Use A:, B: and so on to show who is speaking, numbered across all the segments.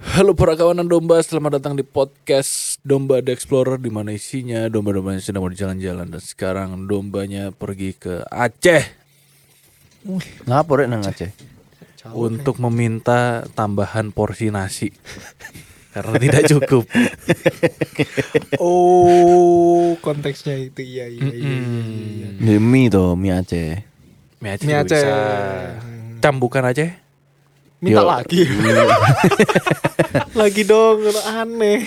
A: Halo para kawanan domba, selamat datang di podcast Domba The Explorer di mana isinya domba-domba yang sedang berjalan-jalan dan sekarang dombanya pergi ke Aceh
B: Ngapa rek nang Aceh?
A: untuk meminta tambahan porsi nasi karena tidak cukup.
C: Oh, konteksnya itu iya iya iya. iya, iya.
B: Demi tuh mie Aceh.
A: Mie Aceh,
C: Mie
A: juga
C: Aceh.
A: bisa. Cam bukan Aceh?
C: Minta
B: Yo.
C: lagi.
A: Mm.
C: lagi dong, kalau aneh.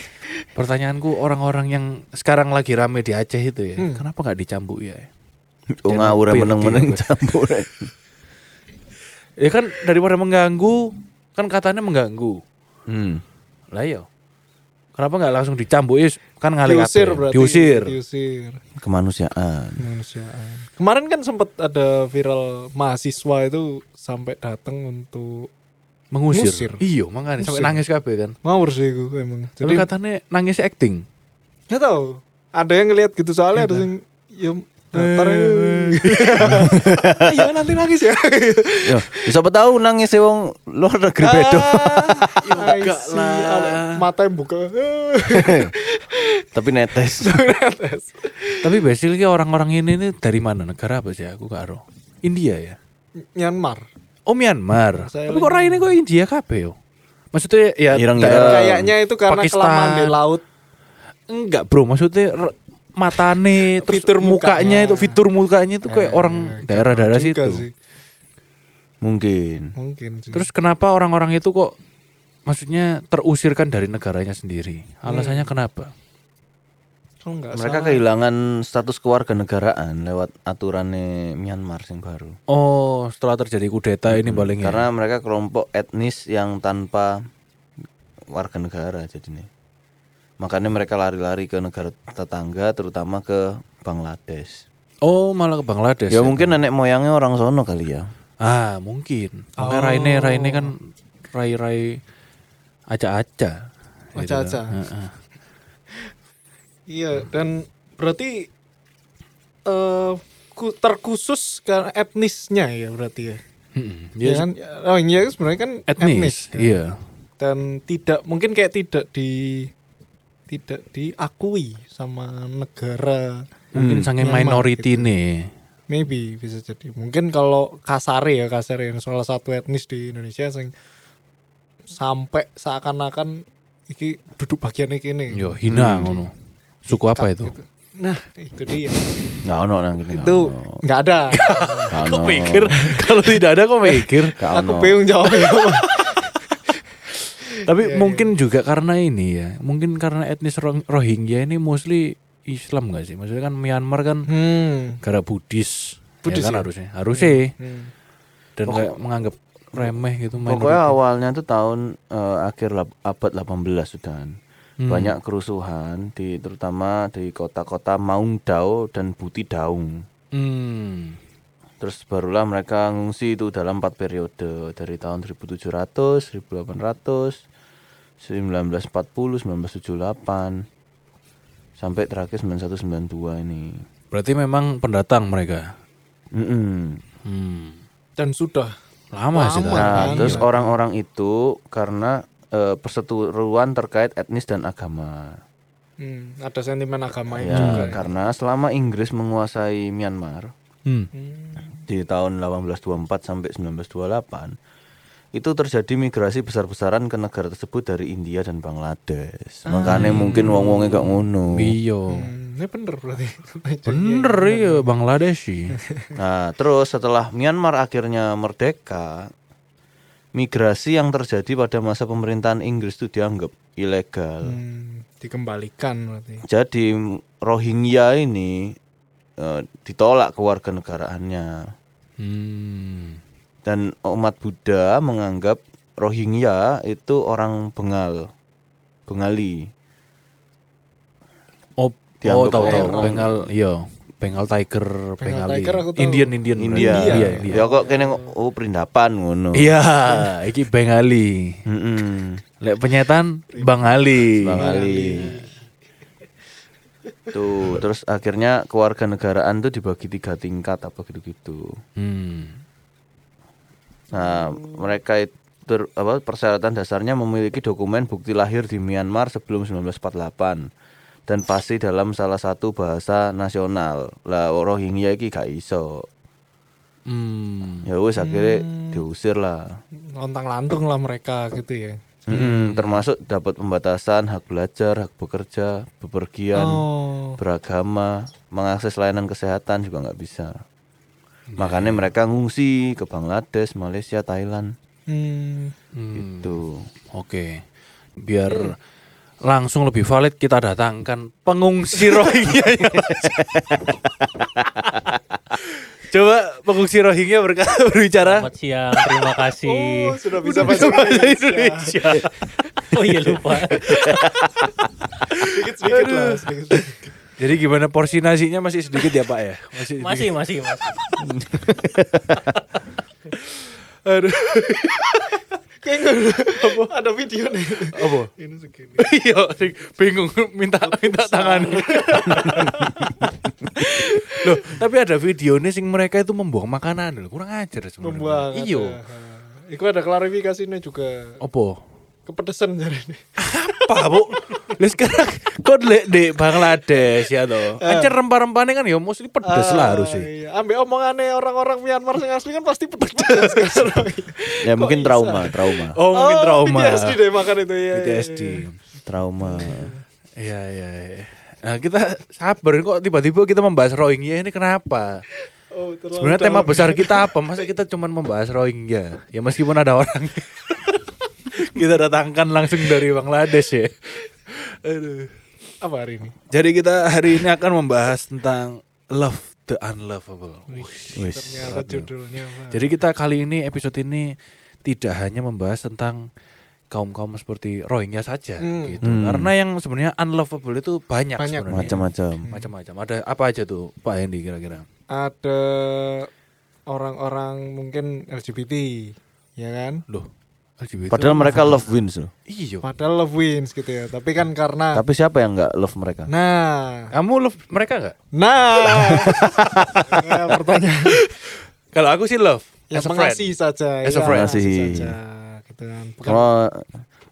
A: Pertanyaanku orang-orang yang sekarang lagi rame di Aceh itu ya,
C: Hmm.
A: kenapa nggak dicambuk ya?
B: Oh ngawur
A: pil-
B: meneng-meneng
A: pil-
B: campur. rek.
A: Ya kan daripada mengganggu, kan katanya mengganggu.
B: Hmm.
A: Lah iya. Kenapa nggak langsung dicambuk is? Kan ngalih
C: Diusir
A: kabeh.
C: berarti.
A: Diusir.
C: Diusir.
B: Kemanusiaan.
C: Kemanusiaan. Kemarin kan sempat ada viral mahasiswa itu sampai datang untuk
A: Mengusir.
C: Ngusir.
A: Iya, makanya sampai
C: Ngusir.
A: nangis kabeh kan.
C: ngawur sih itu emang.
A: Tapi
C: Jadi
A: katanya nangis acting.
C: nggak tahu. Ada yang ngelihat gitu
A: Iya.
C: soalnya ada yang ya datar.
A: Eh,
C: Iya nanti nangis ya.
B: Yo, siapa tahu nangis e wong luar negeri bedo.
C: Ah, I
A: enggak
C: see.
A: lah.
C: Mata yang buka.
B: Tapi netes.
A: Tapi basically orang-orang ini nih dari mana? Negara apa sih? Aku gak ero. India ya.
C: Myanmar.
A: Oh Myanmar.
C: Saya Iya,
A: Tapi kok raine kok India kabeh yo. Maksudnya ya
B: Ireng-ireng.
A: daerah-
C: Kayaknya itu karena
A: Pakistan.
C: kelamaan di laut.
A: Enggak, Bro. Maksudnya re- matane terus
C: Fitur
A: mukanya
C: mukanya.
A: itu fitur mukanya itu kayak
C: Eh,
A: orang daerah-daerah
C: Juga
A: situ.
C: sih.
B: Mungkin.
C: Mungkin sih.
A: Terus kenapa orang-orang itu kok maksudnya terusirkan dari negaranya sendiri? Alasannya kenapa? oh,
C: Kalau nggak
B: Mereka
C: salah,
B: kehilangan status kewarganegaraan lewat aturannya Myanmar sing baru.
A: Oh, setelah terjadi kudeta ini paling ya.
B: Karena mereka kelompok etnis yang tanpa warga negara jadinya. Makanya mereka lari-lari ke negara tetangga terutama ke Bangladesh.
A: Oh, malah ke Bangladesh.
B: Ya mungkin nenek moyangnya orang sono kali ya.
A: Ah, mungkin. Makanya Raine Raine kan rai-rai aca-aca. gitu.
C: Aca-aca.
A: Heeh.
C: Iya dan berarti eh ku- terkhusus karena etnisnya ya berarti ya.
A: Mm-mm.
C: Ya
A: Dia
C: kan? Oh iya sebenarnya kan
A: etnis.
C: ya.
A: Iya.
C: Dan tidak mungkin kayak tidak di tidak diakui sama negara.
A: Mungkin sange
C: Myanmar
A: minority nih.
C: Maybe bisa jadi. Mungkin kalau kasare ya kasare yang salah satu etnis di Indonesia sing sampai seakan-akan iki duduk bagian iki ini.
A: Yo hina ngono. Suku Iya, apa itu?
C: Gitu. Nah, itu dia.
B: Nggak ono nang kene. nggak
C: Itu
B: ono.
C: nggak ada.
B: Nggak ono.
A: Kok mikir kalau tidak ada kok mikir.
B: Nggak
C: Aku
B: ono.
C: bingung jawabnya.
A: Tapi mungkin juga karena ini ya, mungkin karena etnis Roh- Rohingya ini mostly Islam gak sih? Maksudnya kan Myanmar kan
C: hmm.
A: negara Buddhis,
C: Buddhis
A: ya kan
C: ya?
A: harusnya, harusnya
C: Hmm.
A: dan kayak menganggap remeh gitu main
B: Pokoknya awalnya tuh tahun eh, akhir lap- abad 18 sudah banyak kerusuhan di terutama di kota-kota Maung Dao dan Buti Daung.
A: Hmm.
B: Terus barulah mereka ngungsi itu dalam empat periode dari tahun 1700, 1800, 1940, 1978 sampai terakhir 9192 ini.
A: Berarti memang pendatang mereka.
B: Mm-mm.
A: Hmm.
C: Dan sudah.
A: Lama, sih.
C: Lama.
A: Tan.
B: Nah,
C: Iya.
B: terus orang-orang itu karena eh, perseteruan terkait etnis dan agama.
C: Hmm, ada sentimen agamanya
B: Ya,
C: juga. ya.
B: karena selama Inggris menguasai Myanmar
A: Hmm.
C: Hmm.
B: di tahun 1824 sampai 1928 itu terjadi migrasi besar-besaran ke negara tersebut dari India dan Bangladesh. Makanya mungkin wong-wongnya gak ngono.
A: Iya.
C: Hmm, Ini bener berarti.
A: Bener iya Bangladesh
B: Nah, terus setelah Myanmar akhirnya merdeka, migrasi yang terjadi pada masa pemerintahan Inggris itu dianggap ilegal.
C: Hmm, dikembalikan berarti.
B: Jadi Rohingya ini eh, ditolak kewarganegaraannya
A: Hmm.
B: dan umat Buddha menganggap Rohingya itu orang Bengal, Bengali.
A: Oh, oh
B: Dianggap
A: tahu tahu
B: orang.
A: Bengal iya. Bengal Tiger, Bengal,
C: Tiger aku tahu.
A: Indian Indian
B: India.
A: Iya, India.
B: Ya kok kene oh perindapan ngono.
A: Iya, iki Bengali.
B: Mm-mm.
A: Lek penyetan Bang Ali.
B: Bang Ali.
A: iya.
B: Tuh, terus akhirnya kewarganegaraan tuh dibagi tiga tingkat apa gitu-gitu.
A: Hmm.
B: Nah, mereka it- ter- apa, persyaratan dasarnya memiliki dokumen bukti lahir di Myanmar sebelum 1948 dan pasti dalam salah satu bahasa nasional. Lah Rohingya iki gak iso.
A: Hmm.
B: Ya wis akhirnya diusir lah.
C: lontang lantung lah mereka gitu ya
B: Mm-mm, Hmm, termasuk dapat pembatasan hak belajar, hak bekerja, bepergian,
C: oh
B: beragama, mengakses layanan kesehatan juga nggak bisa.
A: Iya.
B: Makanya mereka ngungsi ke Bangladesh, Malaysia, Thailand
C: hmm.
A: Hmm.
B: gitu.
A: Oke. Biar langsung lebih valid kita datangkan pengungsi Rohingya. yang langsung. Coba pengungsi Rohingya berka- berbicara.
D: Selamat siang, terima kasih.
C: Oh, sudah bisa Ya,
A: Bahasa
C: bahasa Indonesia
A: Indonesia.
D: Oh iya lupa.
C: sedikit sedikit lah sedikit, sedikit.
A: Jadi gimana porsi nasinya masih sedikit ya Pak ya? Masih. sedikit.
D: Masih, masih, masih.
A: Aduh.
C: kayak nggak- ada video nih
A: Apa?
C: ini segini
A: Iya, sing bingung minta minta tangan. Loh, tapi ada videonya sing mereka itu membuang makanan loh. Kurang ajar sebenarnya.
C: membuang
A: Iya.
C: Iku ada klarifikasinya juga
A: Apa?
C: kepedesan jadi ini.
A: apa bu? Lah sekarang kau dek di Bangladesh ya toh.
C: Ah.
A: Ancer rempah-rempahnya kan ya mesti pedes lah harusnya.
C: Iya, ambil omongannya orang-orang Myanmar yang asli kan pasti pedes-pedes kan.
B: Ya mungkin trauma, trauma,
A: Oh mungkin trauma.
C: PTSD deh makan itu ya.
A: PTSD.
B: trauma.
A: Iya iya. iya. Nah kita sabar kok tiba-tiba kita membahas Rohingya ini kenapa?
C: Oh, terlalu
A: Sebenarnya tema
C: dalam.
A: besar kita apa? Masa kita cuman membahas Rohingya? Ya meskipun ada orang kita datangkan langsung dari Bangladesh ya. Aduh.
C: apa hari ini?
A: Jadi kita hari ini akan membahas tentang love the unlovable.
B: Wis.
C: Ternyata judulnya apa?
A: Jadi kita kali ini episode ini tidak hanya membahas tentang kaum-kaum seperti Rohingya saja
C: Hmm.
A: gitu. Karena yang sebenarnya unlovable itu banyak,
C: Banyak.
A: sebenarnya.
B: Macam-macam.
A: Macam-macam. Ada apa aja tuh Pak Hendy kira-kira?
C: Ada orang-orang mungkin LGBT, ya kan?
A: Loh, LGBT.
B: Padahal mereka love wins loh.
A: iya.
C: Padahal love wins gitu ya, tapi kan karena
B: Tapi siapa yang nggak love mereka?
C: nah,
A: Kamu love mereka nggak?
C: nah, Nah, pertanyaan
A: Kalau aku sih love.
C: yang
A: as a friend.
C: mengasihi saja,
A: As a
C: ya,
A: friend.
C: mengasihi
B: Mengasihi.
C: saja, gitu kan. Bukan-
B: Kalau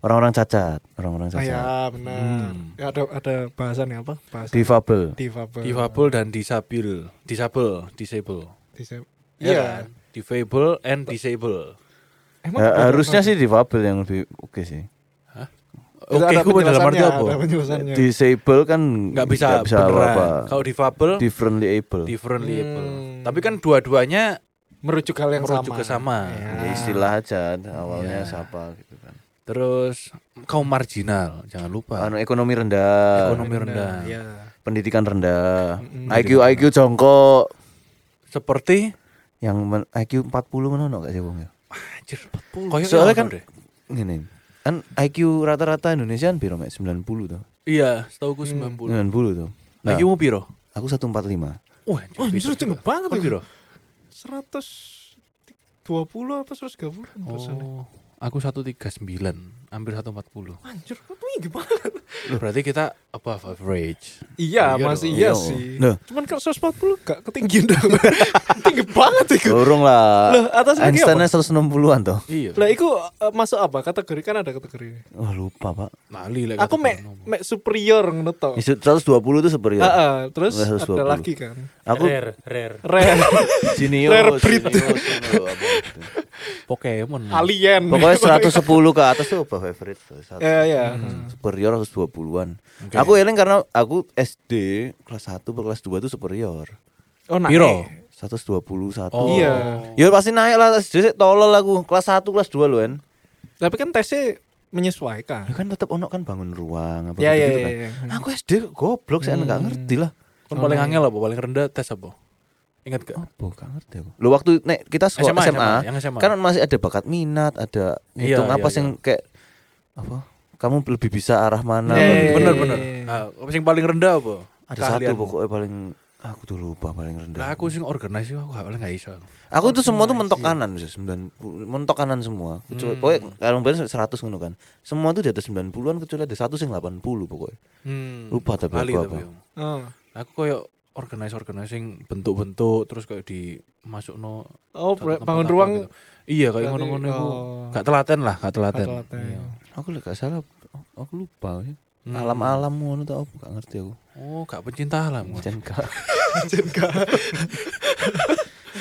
B: Oh, orang-orang cacat, orang-orang
C: Ah, ya
B: cacat,
C: benar.
A: Hmm.
C: Ya, ada ada bahasannya apa? Bahasa
B: difabel. Eh,
C: difabel.
A: Difabel dan disabil. Disable, disable.
C: Disa-
A: Ya
C: Iya.
A: kan? Eh, Difable and disable.
C: Emang
B: Ya,
C: ada
B: harusnya
C: apa?
B: sih difabel yang lebih oke sih.
A: Oke, aku dalam
C: ada
A: arti
C: penjelasannya,
A: apa?
C: Ada penjelasannya.
B: Disable kan
A: Nggak bisa, beneran. Kalau difabel,
B: differently able.
A: differently able.
C: Hmm.
A: Tapi kan dua-duanya
C: merujuk hal yang
A: merujuk
C: sama.
A: ke sama.
C: Ya.
B: Ya, istilah aja awalnya siapa gitu kan.
A: Terus kaum marginal, jangan lupa.
B: Anu ekonomi rendah,
A: Ekonomi rendah.
C: Ya.
B: pendidikan rendah, IQ IQ jongkok.
A: Seperti
B: Yang men- IQ 40 mana enggak sih wong ya?
A: anjir
C: Oh,
A: 40.
C: iya,
A: Kayaknya
B: Soalnya
A: ono
B: kan-
A: deh.
B: Ngene. Kan IQ rata-rata Indonesia kan piro Mek? 90 tuh.
A: iya, setahu ku
C: Hmm.
A: 90.
B: 90 tuh. Nah,
A: Lagi mau piro?
B: aku 145.
A: Wah,
C: Oh, justru tinggi banget
A: Kau piro?
C: 120 apa 130 persennya.
A: Oh, aku 139, hampir 140.
C: Anjir, kok tinggi banget.
A: Berarti kita above average.
C: Iya,
A: Iya
C: masih
A: dong.
B: Iya.
C: iya sih.
B: Loh.
C: Cuman kalau 140 gak ketinggian dong. tinggi banget itu.
B: Dorong lah.
C: Loh, atas lagi
B: Einstein-nya 160-an toh.
A: Iya.
C: Lah itu eh, masuk apa? Kategori kan ada kategori.
B: Wah, lupa, Pak.
A: Lali lah
C: Aku
A: kata
C: mek
A: Purnomo.
C: mek superior ngono to.
B: Isu 120 tuh superior.
C: Heeh, terus
B: Iya. Nggak harus
C: ada
B: 120.
C: lagi kan.
B: Aku
D: Rare, rare.
C: Rare
B: jenius,
C: Rare breed.
B: jenius, ngono, apa gitu.
A: Pokemon.
C: alien.
B: Pokoknya 110 ke atas tuh apa favorite? Satu.
C: Ya ya.
A: Hmm.
B: Superior harus 20-an. Aku eling karena aku SD kelas 1 ke kelas 2 tuh ya. superior.
C: Oh, naik.
A: Piro?
B: 121.
A: Oh.
C: Iya.
B: Ya pasti naik lah SD sih tolol aku. Kelas 1 kelas 2 loh, En.
C: Tapi kan tesnya menyesuaikan.
B: Ya kan tetap ono kan bangun ruang apa
C: Ya, ya,
B: gitu-gitu
C: ya,
B: kan.
C: ya. Hmm.
B: Aku SD goblok saya nggak ngerti lah.
A: Kan paling angel apa? Paling rendah tes apa? Ingat gak?
B: Apa gak ngerti aku. Lo waktu nek kita sekolah
A: SMA,
B: SMA,
A: yang SMA.
B: kan masih ada bakat minat, ada
A: Iya,
B: ngitung
A: iya,
B: apa
A: iya.
B: yang kayak apa? Kamu lebih bisa arah mana?
C: Iya,
B: apa
C: iya,
B: gitu.
A: Bener bener. Ah, yang paling rendah apa?
B: Ada
A: Keahlian.
B: satu pokoknya paling aku tuh lupa paling rendah.
A: Lah aku sing organize aku gak paling gak iso.
B: Aku tuh semua tuh mentok kanan bisa 90 mentok kanan semua. Kecuali
C: Hmm.
B: pokoknya kalau bener 100 ngono kan. Semua tuh di atas 90-an kecuali ada satu sing 80 pokoknya.
A: Hmm.
B: Lupa tapi
A: Lali
B: aku apa.
A: aku.
C: Oh.
A: Aku koyo organize organizing bentuk-bentuk terus kayak dimasuk no
C: Oh,
A: satu tempat
C: bangun
A: apa
C: ruang
A: gitu. Iya kayak
C: berarti,
A: ngono-ngono iku.
C: oh.
A: Gak telaten lah, gak telaten.
C: Gak telaten.
A: Iya.
B: Aku lek gak salah aku lupa. ya.
A: Hmm.
B: Alam-alam ngono tau aku gak ngerti aku.
A: Oh, gak pencinta alam. ngono.
B: Jan gak.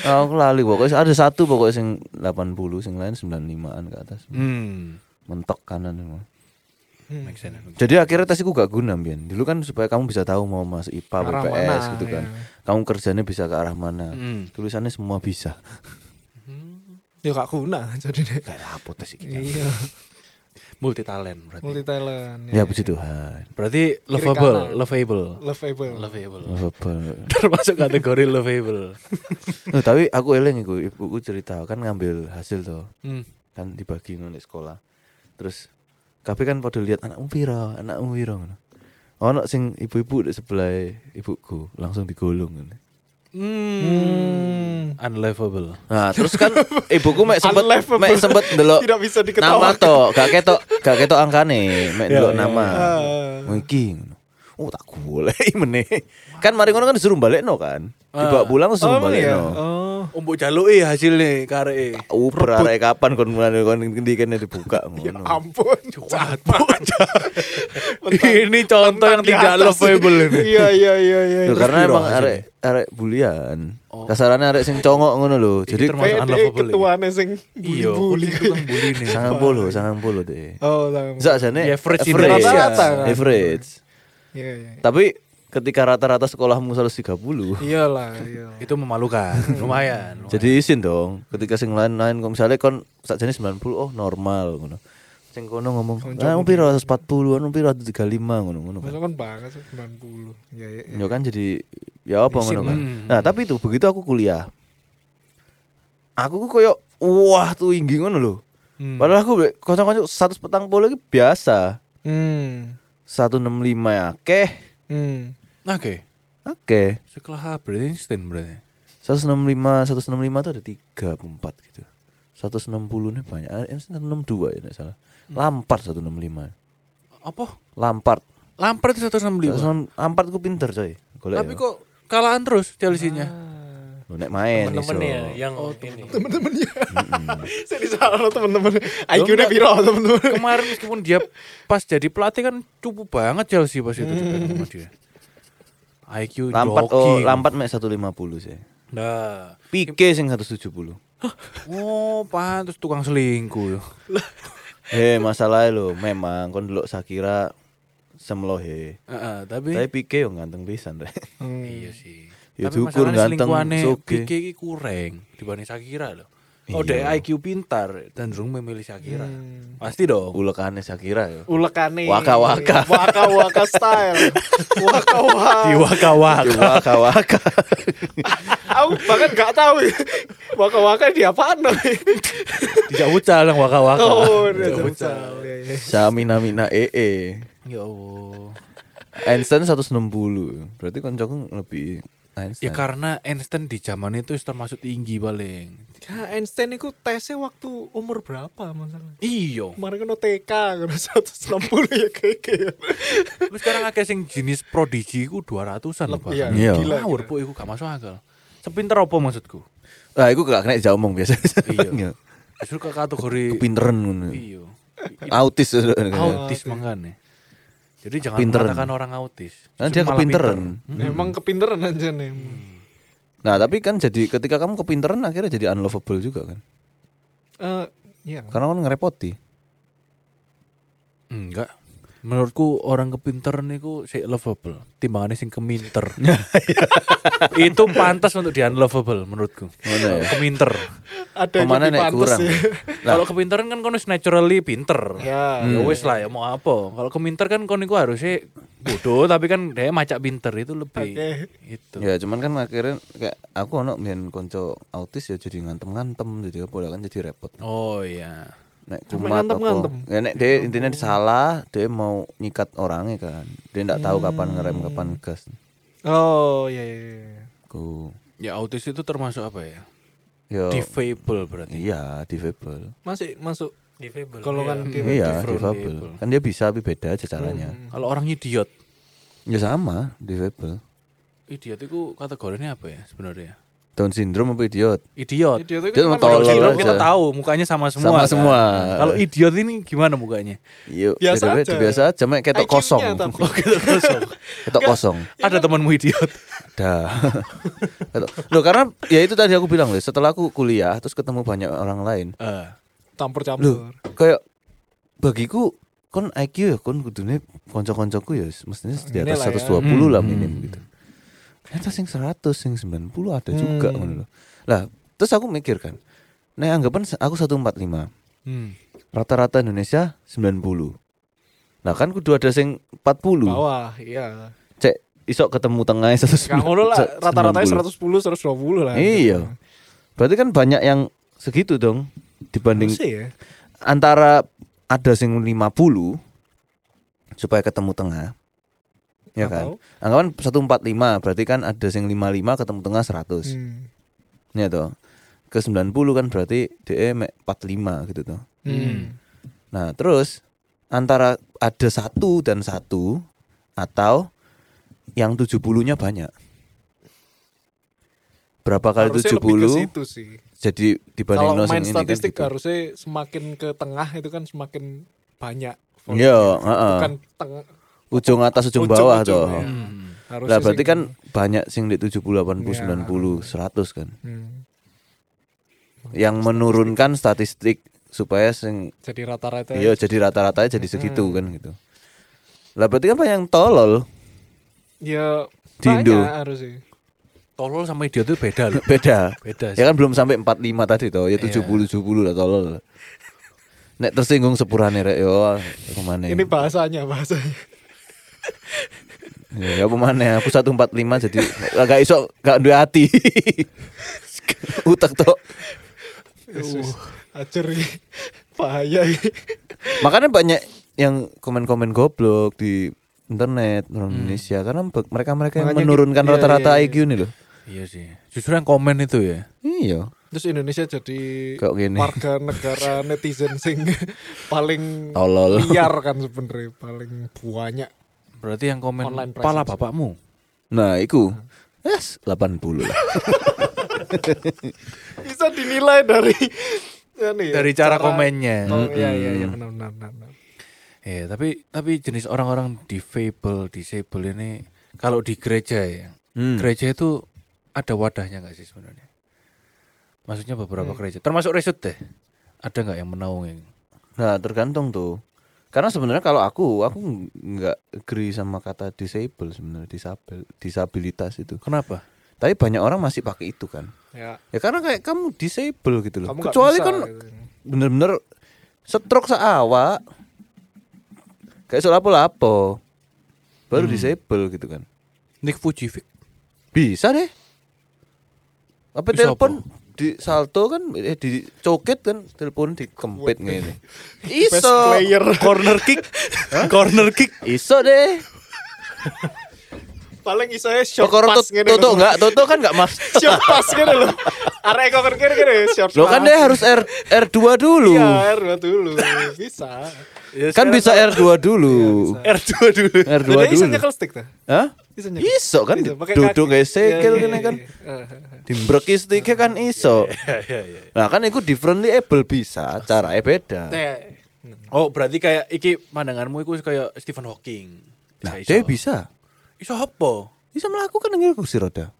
B: Ah, aku lali pokoknya ada satu pokoknya sing 80 sing lain 95-an ke atas.
A: Hmm.
B: Mentok kanan semua.
A: Make Hmm. sense.
B: Jadi akhirnya tesku gak guna Bian. Dulu kan supaya kamu bisa tahu mau masuk IPA,
C: Arah
B: BPS
C: mana,
B: gitu kan.
C: iya.
B: Kamu kerjanya bisa ke arah mana.
A: Hmm.
B: Tulisannya semua bisa.
C: Ya gak guna jadi deh.
B: Kayak apa tes iki?
C: Iya,
A: Multi talent berarti.
C: multi talent.
B: Ya puji Tuhan.
A: Berarti
C: kanan.
A: lovable, lovable.
C: Lovable.
A: Lovable.
B: Lovable.
A: Termasuk kategori lovable.
B: Eh, tapi aku eling iku ibuku cerita kan ngambil hasil tuh
A: Hmm.
B: kan dibagi nang di sekolah terus kabeh kan pada lihat anakmu piro anakmu piro ngono ono sing ibu-ibu di sebelah ibuku langsung digolong ngono.
A: Hmm. Unlovable.
B: nah terus kan ibuku mek sempet
C: Unlivable.
B: mek sempet delok
C: Tidak bisa
B: nama
C: diketawakan.
B: to gak ketok gak ketok angkane mek delok
A: Ya, ya,
B: nama
C: ya.
B: Oh, iki ngono oh tak boleh meneh kan mari ngono kan disuruh balikno kan
C: Ah.
B: dibawa pulang terus disuruh
C: emang ya?
B: balikno
C: Oh.
A: Umbo jaluki hasilnya e. kareke.
B: Uber arek kapan kon mulai kon ngendi kene dibuka
C: Ya
B: ngono.
C: ampun, jahat banget.
A: Ini contoh yang tidak lovable ini.
C: Iya iya iya iya.
B: Loh,
A: terus
B: karena
A: piro
B: emang
A: hasilnya?
B: arek arek bulian.
A: Oh.
B: Kasarannya arek sing congok ngono lho. Jadi
A: termasuk
C: Kayak dia
A: unlovable ini.
C: ketuanya sing
A: Iya,
C: bully-bully.
A: kudu tukang bully nih.
B: sangat polo, sangat polo deh.
C: Oh, sama.
B: Zak jane
A: Ya, average
B: average. Ya,
A: Indonesia.
C: Rata-rata kan?
B: Average.
C: Iya iya.
B: Tapi ketika rata-rata sekolahmu 130
C: Iyalah, iyalah.
A: Itu memalukan, lumayan.
B: jadi izin dong. Ketika sing lain-lain kok misalnya kon sakjane 90 oh normal ngono. Sing kono ngomong, "Ah, mu piro 140, anu piro 135," ngono ngono. kan.
C: Masa kan banget sih 90. Iya iya. iya.
B: Ya kan jadi ya apa ngono kan.
A: Hmm.
B: Nah, tapi itu begitu aku kuliah. Aku ku koyo wah tuh inggi ngono lho.
A: Hmm.
B: Padahal aku be- kocok-kocok 100 petang puluh iki biasa.
C: Hmm.
B: 165 ya. Oke.
C: Hmm.
A: Nah, oke.
B: Oke.
A: Sekelah Albert Einstein berarti.
B: 165 165 tuh ada 3 apa 4 gitu. 160 nih banyak. Ah, ini 162 ya enggak salah.
A: Hmm.
B: Lampard 165.
A: Apa?
B: Lampard.
A: Lampard 165.
B: 165. Lampard ku pinter coy. Golek.
A: Tapi
B: ya.
A: kok kalahan terus Chelsea-nya.
B: Lu nek main iso.
D: Temen-temen ya yang ini.
C: Saya disalah teman-teman. IQ-nya piro teman-teman?
A: Kemarin meskipun dia pas jadi pelatih kan cupu banget Chelsea pas itu dipegang sama dia. IQ
B: Lampard
A: joki.
B: oh Lampard mek 150 sih.
A: Nah.
B: Pique sing 170.
A: Oh, pantes tukang selingkuh.
B: Hei masalahnya lo memang kon delok Shakira semlohe.
A: Heeh, tapi
B: Tapi Pique yo ganteng pisan rek.
A: iya sih.
B: Ya
A: tapi
B: syukur
A: masalahnya
B: ganteng,
A: selingkuhannya
B: soge.
A: Pique iki kurang dibanding Shakira loh. Oh, dek IQ pintar dan durung memilih Shakira. Pasti dong.
B: Ulekane Shakira yo.
C: Ulekane.
B: Waka-waka.
C: Waka-waka style. Waka-waka.
A: Diwaka-waka.
B: Waka waka.
C: Aku bahkan gak tahu waka-waka di apaan no.
A: Tidak ucal yang waka-waka.
C: Oh, udah
A: Tidak ucal.
C: jauh-jauh. Iya, iya.
B: Samina mina ee.
A: Ya Allah.
B: eh, Einstein 160. Berarti kancaku lebih
A: Ya
B: Einstein.
A: karena Einstein di zaman itu termasuk tinggi paling.
C: Ya, Einstein itu tesnya waktu umur berapa masalah?
A: Iya.
C: Kemarin kan TK kan 160 ya kayak kayak.
A: Terus sekarang agak sing jenis prodigi ku 200-an loh, Pak.
C: Iya,
B: Iya.
C: gila.
A: Ngawur po iku gak masuk akal. Sepinter apa maksudku?
B: Nah, iku gak kena diomong biasa.
A: Iya. Justru ke kategori
B: Pinteran ngono.
A: iya. Oh.
B: Autis. Kan
A: Autis mangane. Jadi jangan
B: Pinteran.
A: mengatakan orang autis.
B: Kan dia
A: Justru malah
B: kepinteran.
C: Emang kepinteran aja nih.
B: Nah, tapi kan jadi ketika kamu kepinteran akhirnya jadi unlovable juga kan.
C: Eh, iya.
B: Karena kan ngerepoti.
A: pinter. Enggak. Menurutku orang kepinteran niku sik lovable, timbangannya sing keminter.
B: Iya.
A: itu pantas untuk di unlovable menurutku.
B: Mana ya?
A: Keminter.
C: Ada yang
B: Pemana
C: lebih
B: nek
C: pantes
B: kurang.
C: ya.
B: Lah. Hmm.
A: Kalau kepinteran kan kono naturally pinter.
C: Ya.
A: Ya wis lah ya mau apa. Kalau keminter kan kono iku harusnya bodoh tapi kan dia macak pinter itu lebih.
C: Oke.
A: Itu.
B: Ya cuman kan akhirnya kayak aku ono mbiyen konco autis ya jadi ngantem-ngantem jadi apa kan jadi repot.
A: Oh iya.
B: Nek
C: Cuma
B: kumat
C: ngantem-ngantem.
B: apa. Ya nek dia intinya salah, dia mau nyikat orangnya kan. Dia ndak
C: Hmm.
B: tahu kapan ngerem kapan gas.
C: Oh, iya iya. iya.
B: Ku
A: Ya autis itu termasuk apa ya?
B: yo
A: Defable berarti.
B: iya difabel.
C: Masih masuk
D: Defable.
C: golongan di
B: Iya,
A: different
B: difabel.
A: people.
B: Kan
A: Hmm.
B: dia bisa tapi beda aja caranya.
C: Hmm.
A: Kalau orang idiot
B: Ya sama, difabel.
A: idiot itu kategorinya apa ya sebenarnya?
B: Down syndrome apa idiot?
A: Idiot.
C: Idiot itu
B: Dia mau
C: kan
A: Kalau
B: tolol
A: syndrome
B: aja.
A: kita tahu mukanya sama semua.
B: Sama
A: kan?
B: semua.
A: Kalau idiot ini gimana mukanya?
B: Yuk,
C: Biasa
B: Iya, beda-beda,
C: aja.
B: biasa aja, mek ketok
C: IQ-nya
B: kosong.
C: tapi.
B: ketok kosong.
A: Ada temanmu idiot.
B: Dah. Ketok- Loh, karena ya itu tadi aku bilang, loh, setelah aku kuliah terus ketemu banyak orang lain.
A: Eh,
B: Loh,
C: campur-campur.
B: kayak bagiku kon IQ ya kon kudune kanca-kancaku ya mestinya di
C: Ini
B: atas
C: lah ya.
B: 120 lah
A: Hmm.
B: minim gitu. Ternyata sing 100, sing 90 ada juga
C: Hmm.
B: ngono loh. Lah, terus aku mikir kan. Nah, anggapan se- aku 145.
A: hmm.
B: Rata-rata Indonesia 90. Nah, kan kudu ada sing 40.
C: Bawah, iya.
B: Cek isok ketemu tengah 190.
C: Gak ngono lah, ya rata-ratanya 110, 120 lah.
B: Iya. Berarti kan banyak yang segitu dong dibanding
C: Masih ya.
B: antara ada sing 50 supaya ketemu tengah. Ya
C: Nggak
B: kan?
C: tahu.
B: Anggapan 145 berarti kan ada sing 55 ketemu tengah 100.
C: Hmm.
B: Ya toh. Ke 90 kan berarti DE mek 45 gitu toh.
C: Hmm.
B: Nah, terus antara ada satu dan satu atau yang 70-nya banyak. Berapa kali
C: Harusnya lebih ke
B: 70
C: situ sih.
B: jadi dibanding
C: Kalau main
B: ini kan
C: statistik
B: gitu.
C: harusnya semakin ke tengah itu kan semakin banyak. kan
B: Iya, heeh.
C: ya. Bukan tengah.
B: Ujung atas ujung,
C: Ujung,
B: bawah
C: ujung,
B: toh.
C: iya.
A: Hmm.
C: Harusnya
B: Lah berarti
C: sih-
B: kan banyak sing di 70 80
C: Ya.
B: 90 100 kan.
C: Hmm. Iya.
B: Yang menurunkan statistik supaya sing
C: Jadi rata-rata.
B: iya jadi rata-ratanya jadi segitu
C: Hmm.
B: kan gitu. Lah berarti apa yang tolol
C: Ya
B: Di Indo.
C: banyak harusnya.
A: Tolol sama idiot itu beda loh.
B: beda.
A: Beda sih.
B: Ya kan belum sampai 45 tadi toh,
C: Iya.
B: ya 70 70 lah tolol. Nek tersinggung sepurane rek yo pemane.
C: Ini bahasanya, bahasanya.
B: Ya pemane aku 145 jadi agak iso gak duwe hati. Utak tok.
C: Yesus. Acer ini. bahaya ini.
B: Makanya banyak yang komen-komen goblok di internet orang Indonesia karena be- mereka-mereka yang
C: Hmm. Makanya di-
B: menurunkan
C: iya,
B: rata-rata
C: iya, iya.
B: IQ nih loh.
A: Iya sih. Justru yang komen itu ya.
B: Iya.
C: Terus Indonesia jadi
B: Kayak gini.
C: warga negara netizen sing paling
B: Tolol.
C: liar kan sebenarnya paling banyak.
A: Berarti yang komen
C: Online presence.
A: pala bapakmu.
B: Nah, iku. Yes, 80 lah.
C: Bisa dinilai dari ini ya,
A: Dari cara komennya.
C: Oh, iya iya iya
B: Hmm.
C: benar benar benar. benar.
A: Ya, tapi tapi jenis orang-orang difabel, disable ini kalau di gereja ya.
B: Hmm.
A: Gereja itu ada wadahnya nggak sih sebenarnya? Maksudnya
C: Hmm.
A: beberapa gereja, termasuk resut deh. Ada nggak yang menaungi?
B: Nah, tergantung tuh. Karena sebenarnya kalau aku, aku nggak agree sama kata disable sebenarnya disabel, disabilitas itu.
A: Kenapa?
B: Tapi banyak orang masih pakai itu kan.
C: Ya,
B: Ya karena kayak kamu disable gitu loh.
C: kamu nggak
B: Kecuali
C: bisa,
B: kan
C: gitu.
B: bener-bener setruk seawak kayak soal apa-apa baru
C: Hmm.
B: disable gitu kan
A: Nick Fujifik.
B: bisa deh apa
A: Bisa
B: telepon di salto kan eh di coket kan telepon dikempit ngene iso
C: player.
A: Corner kick. Corner kick.
B: iso deh
C: paling isanya short
B: Pokor
C: pass
B: Toto Toto
C: loh.
B: enggak Toto kan enggak mas
C: Short pass gini loh. Arek kok kene gini short
B: lo kan
C: pass.
B: deh harus R R2 dulu
C: Iya, R2 dulu. Bisa.
B: kan bisa R2 dulu
C: Iya,
A: R2 dulu.
B: R2
C: Jadi bisa
B: dulu
C: nyekel stick tuh.
B: Hah?
C: Bisa nyekel.
B: iso kan
C: Bisa, Gitu, pakai
B: duduk
C: kaki.
B: kayak segel kene
C: Iya, iya,
B: kan
C: iya, iya.
B: Dimbreki sticknya kan iso.
C: Ya,
B: Nah kan itu differently able bisa, caranya beda.
C: Teh.
A: Oh, berarti kayak iki pandanganmu itu kayak Stephen Hawking.
B: Nah
A: Bisa,
B: dia
A: iso.
B: bisa,
A: Iso apa?
B: bisa melakukan dengan kursi roda.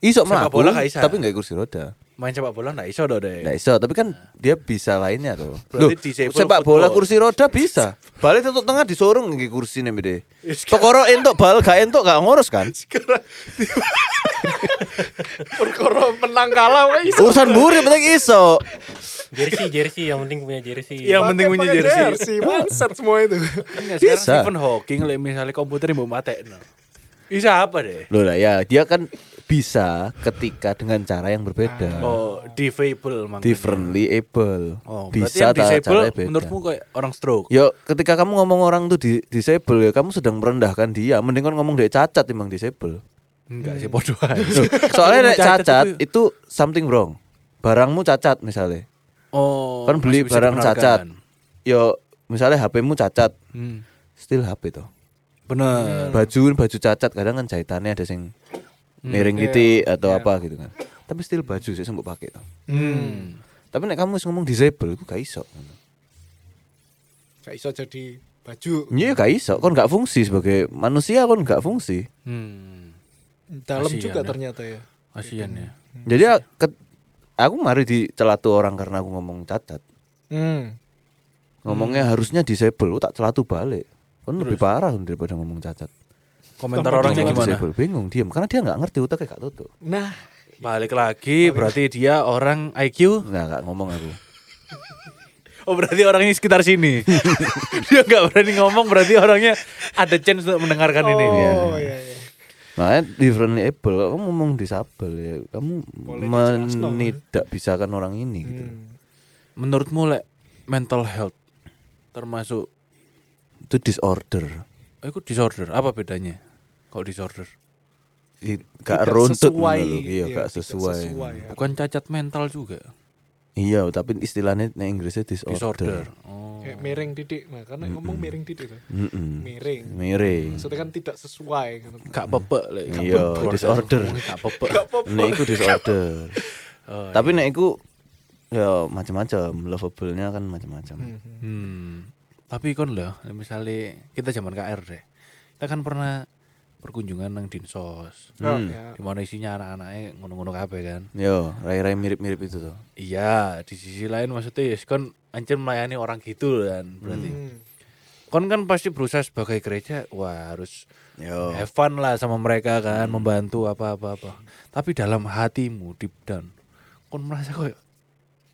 B: Iso
A: Sepak
B: melaku,
A: bola nggak bisa.
B: tapi nggak kursi roda.
C: Iya.
A: Main sepak bola nggak iso dong deh.
B: Nggak iso, tapi kan dia bisa lainnya tuh. Loh,
A: Berarti disable
B: sepak bola
A: football.
B: kursi roda bisa. Balik tutup tengah disorong nggih kursi nih bede.
A: Yes, kan.
B: Pokoro entuk bal gak entuk gak ngurus kan.
A: Sekarang
C: Perkara menang kalah wah, iya. iso.
B: Urusan murid penting iso.
D: jersey jersey yang penting punya jersey
A: Yang penting punya
C: Pakai
A: jersey.
C: mindset semua itu.
A: Enggak,
B: Bisa.
A: Kan ya sekarang Stephen Hawking like, misalnya komputer mau mati no. Bisa apa deh?
B: Loh lah ya, dia kan bisa ketika dengan cara yang berbeda.
A: Oh, defable makanya.
B: differently able.
A: Oh,
B: bisa
A: bisa
B: tak
A: disable
B: caranya beda. Iya.
A: menurutmu kayak orang stroke.
B: Yo, ketika kamu ngomong orang tuh di disable ya, kamu sedang merendahkan dia. Mending kan ngomong dia cacat timbang disable.
A: Enggak sih bodoh aja.
B: Loh, Soalnya nek
A: Cacat
B: cacat
A: itu-
B: itu something wrong. Barangmu cacat misalnya.
A: Oh,
B: kan
A: masih
B: beli
A: bisa
B: barang cacat.
A: dibenarkan.
B: Yo, misalnya HP-mu cacat,
A: Hmm.
B: still HP toh.
A: Bener.
B: baju baju cacat kadang kan jahitannya ada sing
A: Hmm,
B: miring
A: iya,
B: titik atau apa gitu kan tapi still baju sih sembuh pakai tuh
A: Hmm.
B: tapi nek kamu wis ngomong disable itu gak iso
C: Gak iso jadi baju
B: iya gak iso kon gak fungsi sebagai manusia kon gak fungsi
A: Hmm.
C: dalam
A: Kasihan
C: juga
A: ya.
C: ternyata ya.
A: Kasihan ya.
B: jadi a- ket- aku mari dicelatu orang karena aku ngomong cacat
C: Hmm.
B: ngomongnya
A: Hmm.
B: harusnya disable lu tak celatu balik kon lebih parah daripada ngomong cacat
A: Komentar orangnya
B: Ngomong
A: gimana?
B: disable, bingung diam karena dia nggak ngerti otaknya gak tutup
C: Nah,
A: Balik lagi berarti dia orang IQ.
B: nggak nggak ngomong aku
A: Oh berarti orangnya sekitar sini. dia nggak berani ngomong berarti orangnya ada chance untuk mendengarkan ini.
C: oh iya iya.
B: Nah, Makanya differently able, kamu ngomong disable ya, kamu menidak bisakan orang ini gitu.
A: Menurutmu lek mental health termasuk
B: Itu disorder.
A: eh, itu disorder apa bedanya? Kok disorder?
B: I-
C: Tidak
B: Gak runtut
C: sesuai,
B: ngono lho, iya,
C: iya,
B: gak
C: tidak
B: sesuai.
C: sesuai, ya.
A: Bukan cacat mental juga.
B: Iya, tapi istilahnya nek Inggrisnya disorder.
A: Disorder. Oh.
C: Kayak miring titik. Nah, karena ngomong miring titik tuh.
B: Heeh.
C: Miring.
B: Miring.
C: Maksudnya kan tidak sesuai kan.
A: Gak pepek lek. gak
B: Iya,
A: pepek.
B: disorder.
A: Gak pepek.
B: Nek iku disorder. Tapi nek iku ya macam-macam, lovable-nya kan macam-macam.
A: Hmm. Tapi kon loh, misalnya kita zaman KR deh. Kita kan pernah perkunjungan nang Dinsos.
C: Oh,
B: Hmm.
C: ya.
A: Di mana isinya anak-anaknya ngono-ngono kabeh kan.
B: Yo, rai-rai mirip-mirip itu tuh.
A: Iya, di sisi lain maksudnya ya kon anjir melayani orang gitu kan berarti.
C: Hmm.
A: Kon kan pasti berusaha sebagai gereja, wah harus
B: Yo.
A: have fun lah sama mereka kan, membantu apa-apa apa. Tapi dalam hatimu deep down, kon merasa kayak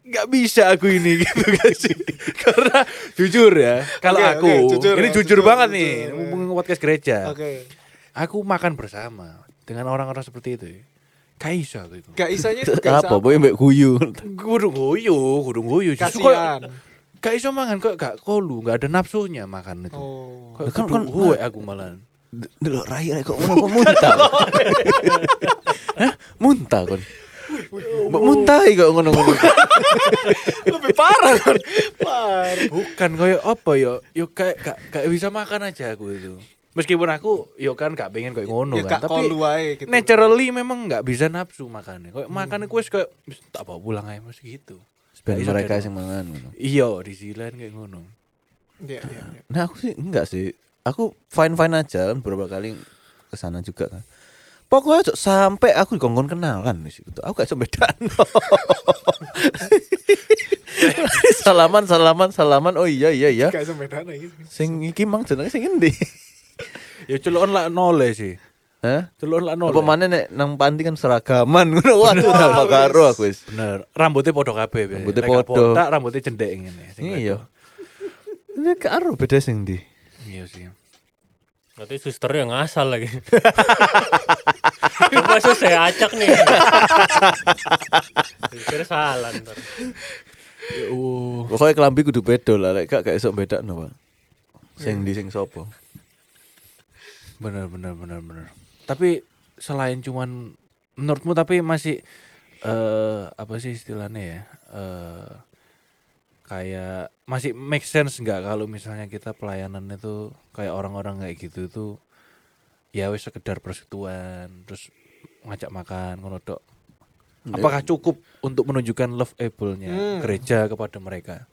A: nggak bisa aku ini gitu kan sih. Karena jujur ya, kalau
C: Oke,
A: aku
C: oke, jujur
A: ini
C: ya,
A: jujur,
C: jujur,
A: banget
C: jujur,
A: nih,
C: ya.
A: ngomong podcast gereja.
C: Oke.
A: Aku makan bersama dengan orang-orang seperti itu. Kayak iso aku itu.
C: Gak isanya itu gak
B: Apa?
C: isa.
B: Boy mbek guyu.
A: Kudu guyu, kudu guyu. Justru kayak-
C: Kasihan.
A: Gak iso mangan kok gak kolu, gak ada nafsunya makan itu.
C: Oh.
A: Kok
B: Kan-
A: kan
B: kan-
A: aku malahan.
B: Delok rai rai kok ngono kok muntah. Hah? Muntah kon. Mbok muntah kok ngono ngono.
C: Lebih parah kan. Parah.
A: Bukan kayak apa ya? Yo kayak gak, gak bisa makan aja aku itu. Meskipun aku yo kan gak pengen kayak ngono
C: Ya
A: kan,
C: gak
A: tapi
C: kolu aja gitu. Hmm.
A: naturally memang gak bisa nafsu makannya. Kayak makan aku wis kayak "Wis, tak bawa pulang aja mas gitu.
B: Ben
A: Gak iso
B: mereka
A: kayak
B: sing mangan ngono.
A: Iya, di sisi lain kayak ngono.
C: Iya, iya, iya.
B: Nah aku sih enggak sih. Aku fine fine aja kan beberapa kali ke sana juga kan. Pokoknya cok, sampai aku dikongkon kenalan di situ. kan, gitu. Aku gak sampai dano. salaman salaman salaman. Oh iya iya iya.
C: Gak sampai dana gitu.
B: Sing iki mang jenenge sing endi?
A: Ya celokan lah nole sih.
B: Hah?
A: Celokan e. lah nole.
B: Apa mana nek nang panti kan seragaman ngono. Waduh, apa karo aku wis.
A: Bener, rambutnya podo kabeh. biasanya.
B: Rambutnya
A: Lek gak
B: podo.
A: botak, rambutnya cendek ngene. sing
B: Iya.
A: wedok.
B: Ini karo beda sing ndi?
A: Iya sih.
D: Nanti suster yang ngasal lagi. Coba sus saya acak nih. Kira salah ntar.
A: Oh.
B: Pokoknya kelambi Uh. kudu beda lah, lek gak gak esok beda no, Pak. Sing ndi sing sopo?
A: Benar benar benar benar. Tapi selain cuman menurutmu tapi masih eh apa sih istilahnya ya? Eh kayak masih make sense nggak kalau misalnya kita pelayanan itu kayak orang-orang kayak gitu itu ya wes sekedar persekutuan terus ngajak makan ngono dok. Apakah cukup untuk menunjukkan loveable-nya gereja kepada mereka?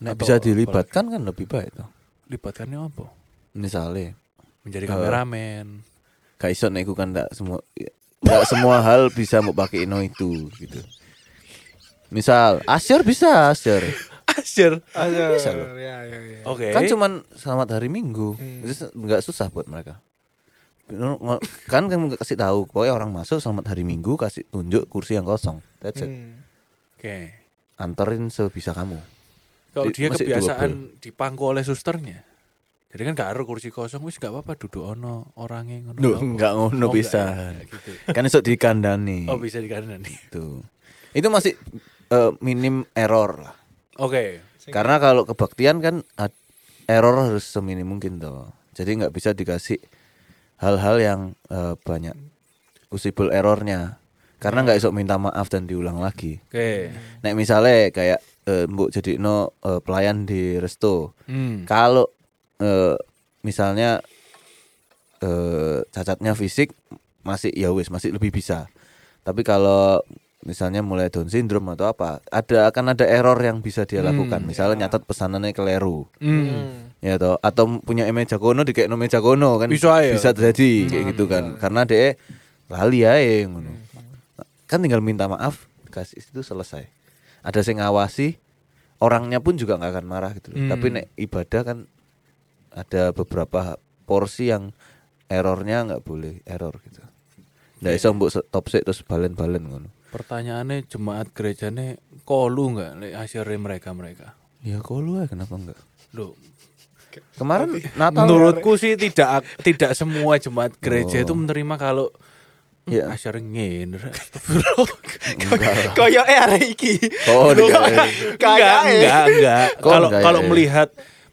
B: Nek
A: Atau
B: bisa dilibatkan kan lebih baik to.
A: Libatkannya apa?
B: Misalnya,
A: Menjadi
B: Eh,
A: kameramen.
B: gak iso nek iku kan gak semua gak semua hal bisa mbok pakai no itu gitu. Misal, asyur bisa, asyur.
A: Asyir.
C: Aduh,
B: Bisa loh.
C: Iya, iya, iya.
A: Oke.
B: Kan cuman selamat hari Minggu. Terus nggak susah buat mereka. Kan kamu kasih tahu, pokoknya orang masuk selamat hari Minggu kasih tunjuk kursi yang kosong. That's it.
C: Hmm.
A: Oke.
B: Anterin sebisa kamu.
A: Kalau
B: Di-
A: dia
B: masih
A: kebiasaan dipangku oleh susternya. Jadi kan gak ada kursi kosong wis gak apa-apa duduk ono orangnya ngono.
B: Duh,
A: apa.
B: enggak ngono
A: Oh,
B: pisan.
A: enggak, enggak gitu.
B: Kan esok dikandani.
A: Oh, bisa dikandani.
B: Tuh. Itu masih eh, minim error lah.
A: Oke.
B: Karena kalau kebaktian kan ad- error harus seminim mungkin toh. Jadi nggak bisa dikasih hal-hal yang eh, banyak usibul errornya. Karena nggak esok minta maaf dan diulang lagi.
A: Oke.
B: Nek misalnya kayak eh, mbok jadi no pelayan di eh, resto.
A: Hmm.
B: Kalau eh, misalnya eh, cacatnya fisik masih ya wis masih lebih bisa tapi kalau misalnya mulai Down syndrome atau apa ada akan ada error yang bisa dia
A: Hmm.
B: lakukan misalnya nyatet pesanannya keleru ya toh atau punya meja kono di kayak meja kono kan
A: Bisa Hmm. ya.
B: terjadi kayak gitu kan karena dia lali ae ngono kan tinggal minta maaf kasih itu selesai ada sing ngawasi orangnya pun juga nggak akan marah gitu loh.
A: Hmm.
B: tapi nek ibadah kan ada beberapa porsi yang errornya nggak boleh error gitu
A: Iya.
B: nggak bisa mbok stop sik terus balen-balen ngono
A: Pertanyaannya jemaat gerejane kolu nggak lek hasilnya mereka mereka?
B: ya kok lu ae, kenapa enggak
A: Loh,
B: kemarin Natal ya?
A: menurutku sih tidak tidak semua jemaat gereja
B: Oh.
A: itu menerima kalau
B: Ya.
A: ya.
C: Koyo eh arek iki.
B: oh iya.
A: enggak,
C: Kayak
A: enggak, enggak. eh.
B: Kok
A: Kalau
B: enggak
A: kalau
B: ya?
A: melihat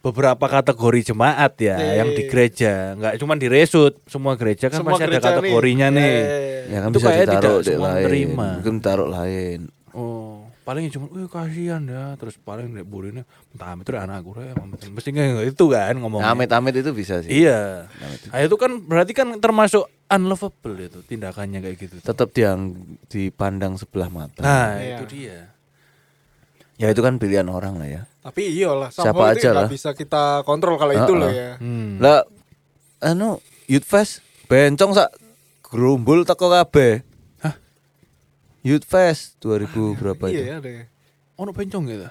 A: beberapa kategori jemaat ya yang di gereja, enggak cuman di Resut, semua gereja kan masih ada kategorinya nih. Iya,
B: ya kan
A: Itu
B: bisa
A: kayaknya tidak
B: ditaruh ya. di
A: semua
B: lain
A: menerima.
B: mungkin taruh lain
A: Oh, paling cuma, "Wih, kasihan ya." Terus paling nek burine, "Entah amit itu anakku ya." Mesti enggak itu kan ngomongnya.
B: amit-amit itu bisa sih
A: Iya. Nah, itu kan berarti kan termasuk unlovable itu tindakannya kayak gitu.
B: tetap yang dipandang sebelah mata
A: Nah, itu
C: Iya.
A: dia.
B: ya itu kan pilihan orang lah ya
C: Tapi iyalah sama
B: Siapa
C: itu
B: aja
C: nggak
B: lah.
C: bisa kita kontrol kalau itu
B: Uh-uh.
C: loh ya.
A: Hmm.
B: lah anu youth fest bencong sak gerumbul teko kabeh
A: Hah? Ah,
B: youth fest 2000 berapa
C: Iya
B: itu
C: ya deh.
A: Ono pencong gitu.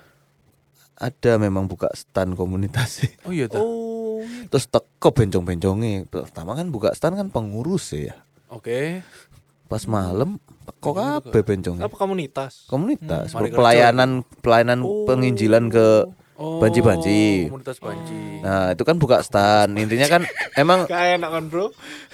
B: ada memang buka stand komunitas sih.
A: Oh iya tuh.
C: Oh.
B: terus teko bencong-bencongnya pertama kan buka stand kan pengurus ya
A: Oke.
B: pas
A: Hmm.
B: malam teko kabeh bencong
C: Apa komunitas?
B: komunitas
A: Hmm. Mari kerja.
B: pelayanan pelayanan penginjilan ke
A: Oh,
B: banci-banci
A: Komunitas banci.
B: Nah itu kan buka stand intinya kan emang
C: Kayak enak kan bro.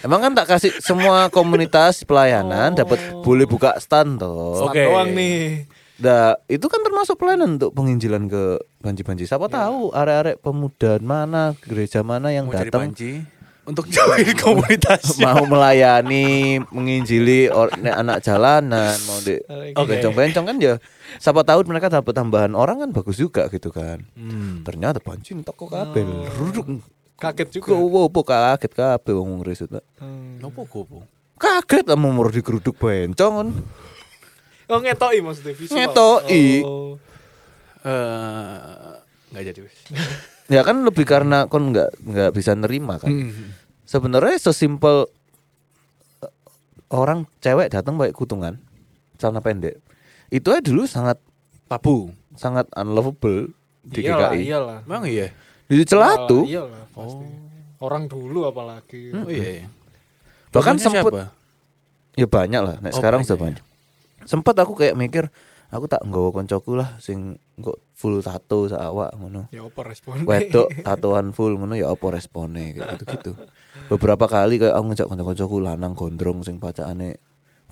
B: emang kan tak kasih semua komunitas pelayanan dapat boleh buka stand toh.
A: Oke.
C: Oke. Doang nih.
B: Nah itu kan termasuk pelayanan untuk penginjilan ke banci-banci. Siapa tahu arek-arek pemuda mana gereja mana yang
A: Mau cari
B: datang
A: banci untuk join komunitasnya.
B: mau melayani menginjili or- ne- anak jalanan mau di bencong-bencong kan ya siapa tahu mereka dapat tambahan orang kan bagus juga gitu kan
A: Hmm.
B: ternyata banci toko kabel ruduk
C: Kaget juga.
B: Gowo opo oh, kaget kabeh wong ngresut. Pak.
C: Hmm.
A: Nopo gopo?
B: Kaget lah mumur di geruduk bencong kan.
C: Oh ngetoi maksudnya visual.
B: Ngetoi.
C: Oh.
A: Eh, nggak jadi wes.
B: Ya kan lebih karena kon nggak nggak bisa
A: Hmm.
B: nerima kan. Sebenarnya sesimpel eh, orang cewek datang pakai kutungan celana pendek. Itu aja dulu sangat
A: Tabu.
B: sangat unlovable di
C: iyalah, Iya,
B: GKI.
C: Iyalah.
A: Emang iya.
B: Di celatu
C: Iyalah, pasti. Orang dulu apalagi.
A: Oh iya. iya.
B: bahkan
A: Dosennya
B: sempet
A: siapa?
B: ya banyak lah. Nek
A: Oh,
B: sekarang
A: banyak
B: sudah
A: ya.
B: banyak. Sempat aku kayak mikir aku tak nggawa koncoku lah sing kok full tato sak awak ngono.
C: Ya apa responnya?
B: wedok tatoan full ngono ya apa responnya kayak gitu-gitu. Beberapa kali kayak aku ngejak kanca-kancaku lanang gondrong sing pacakane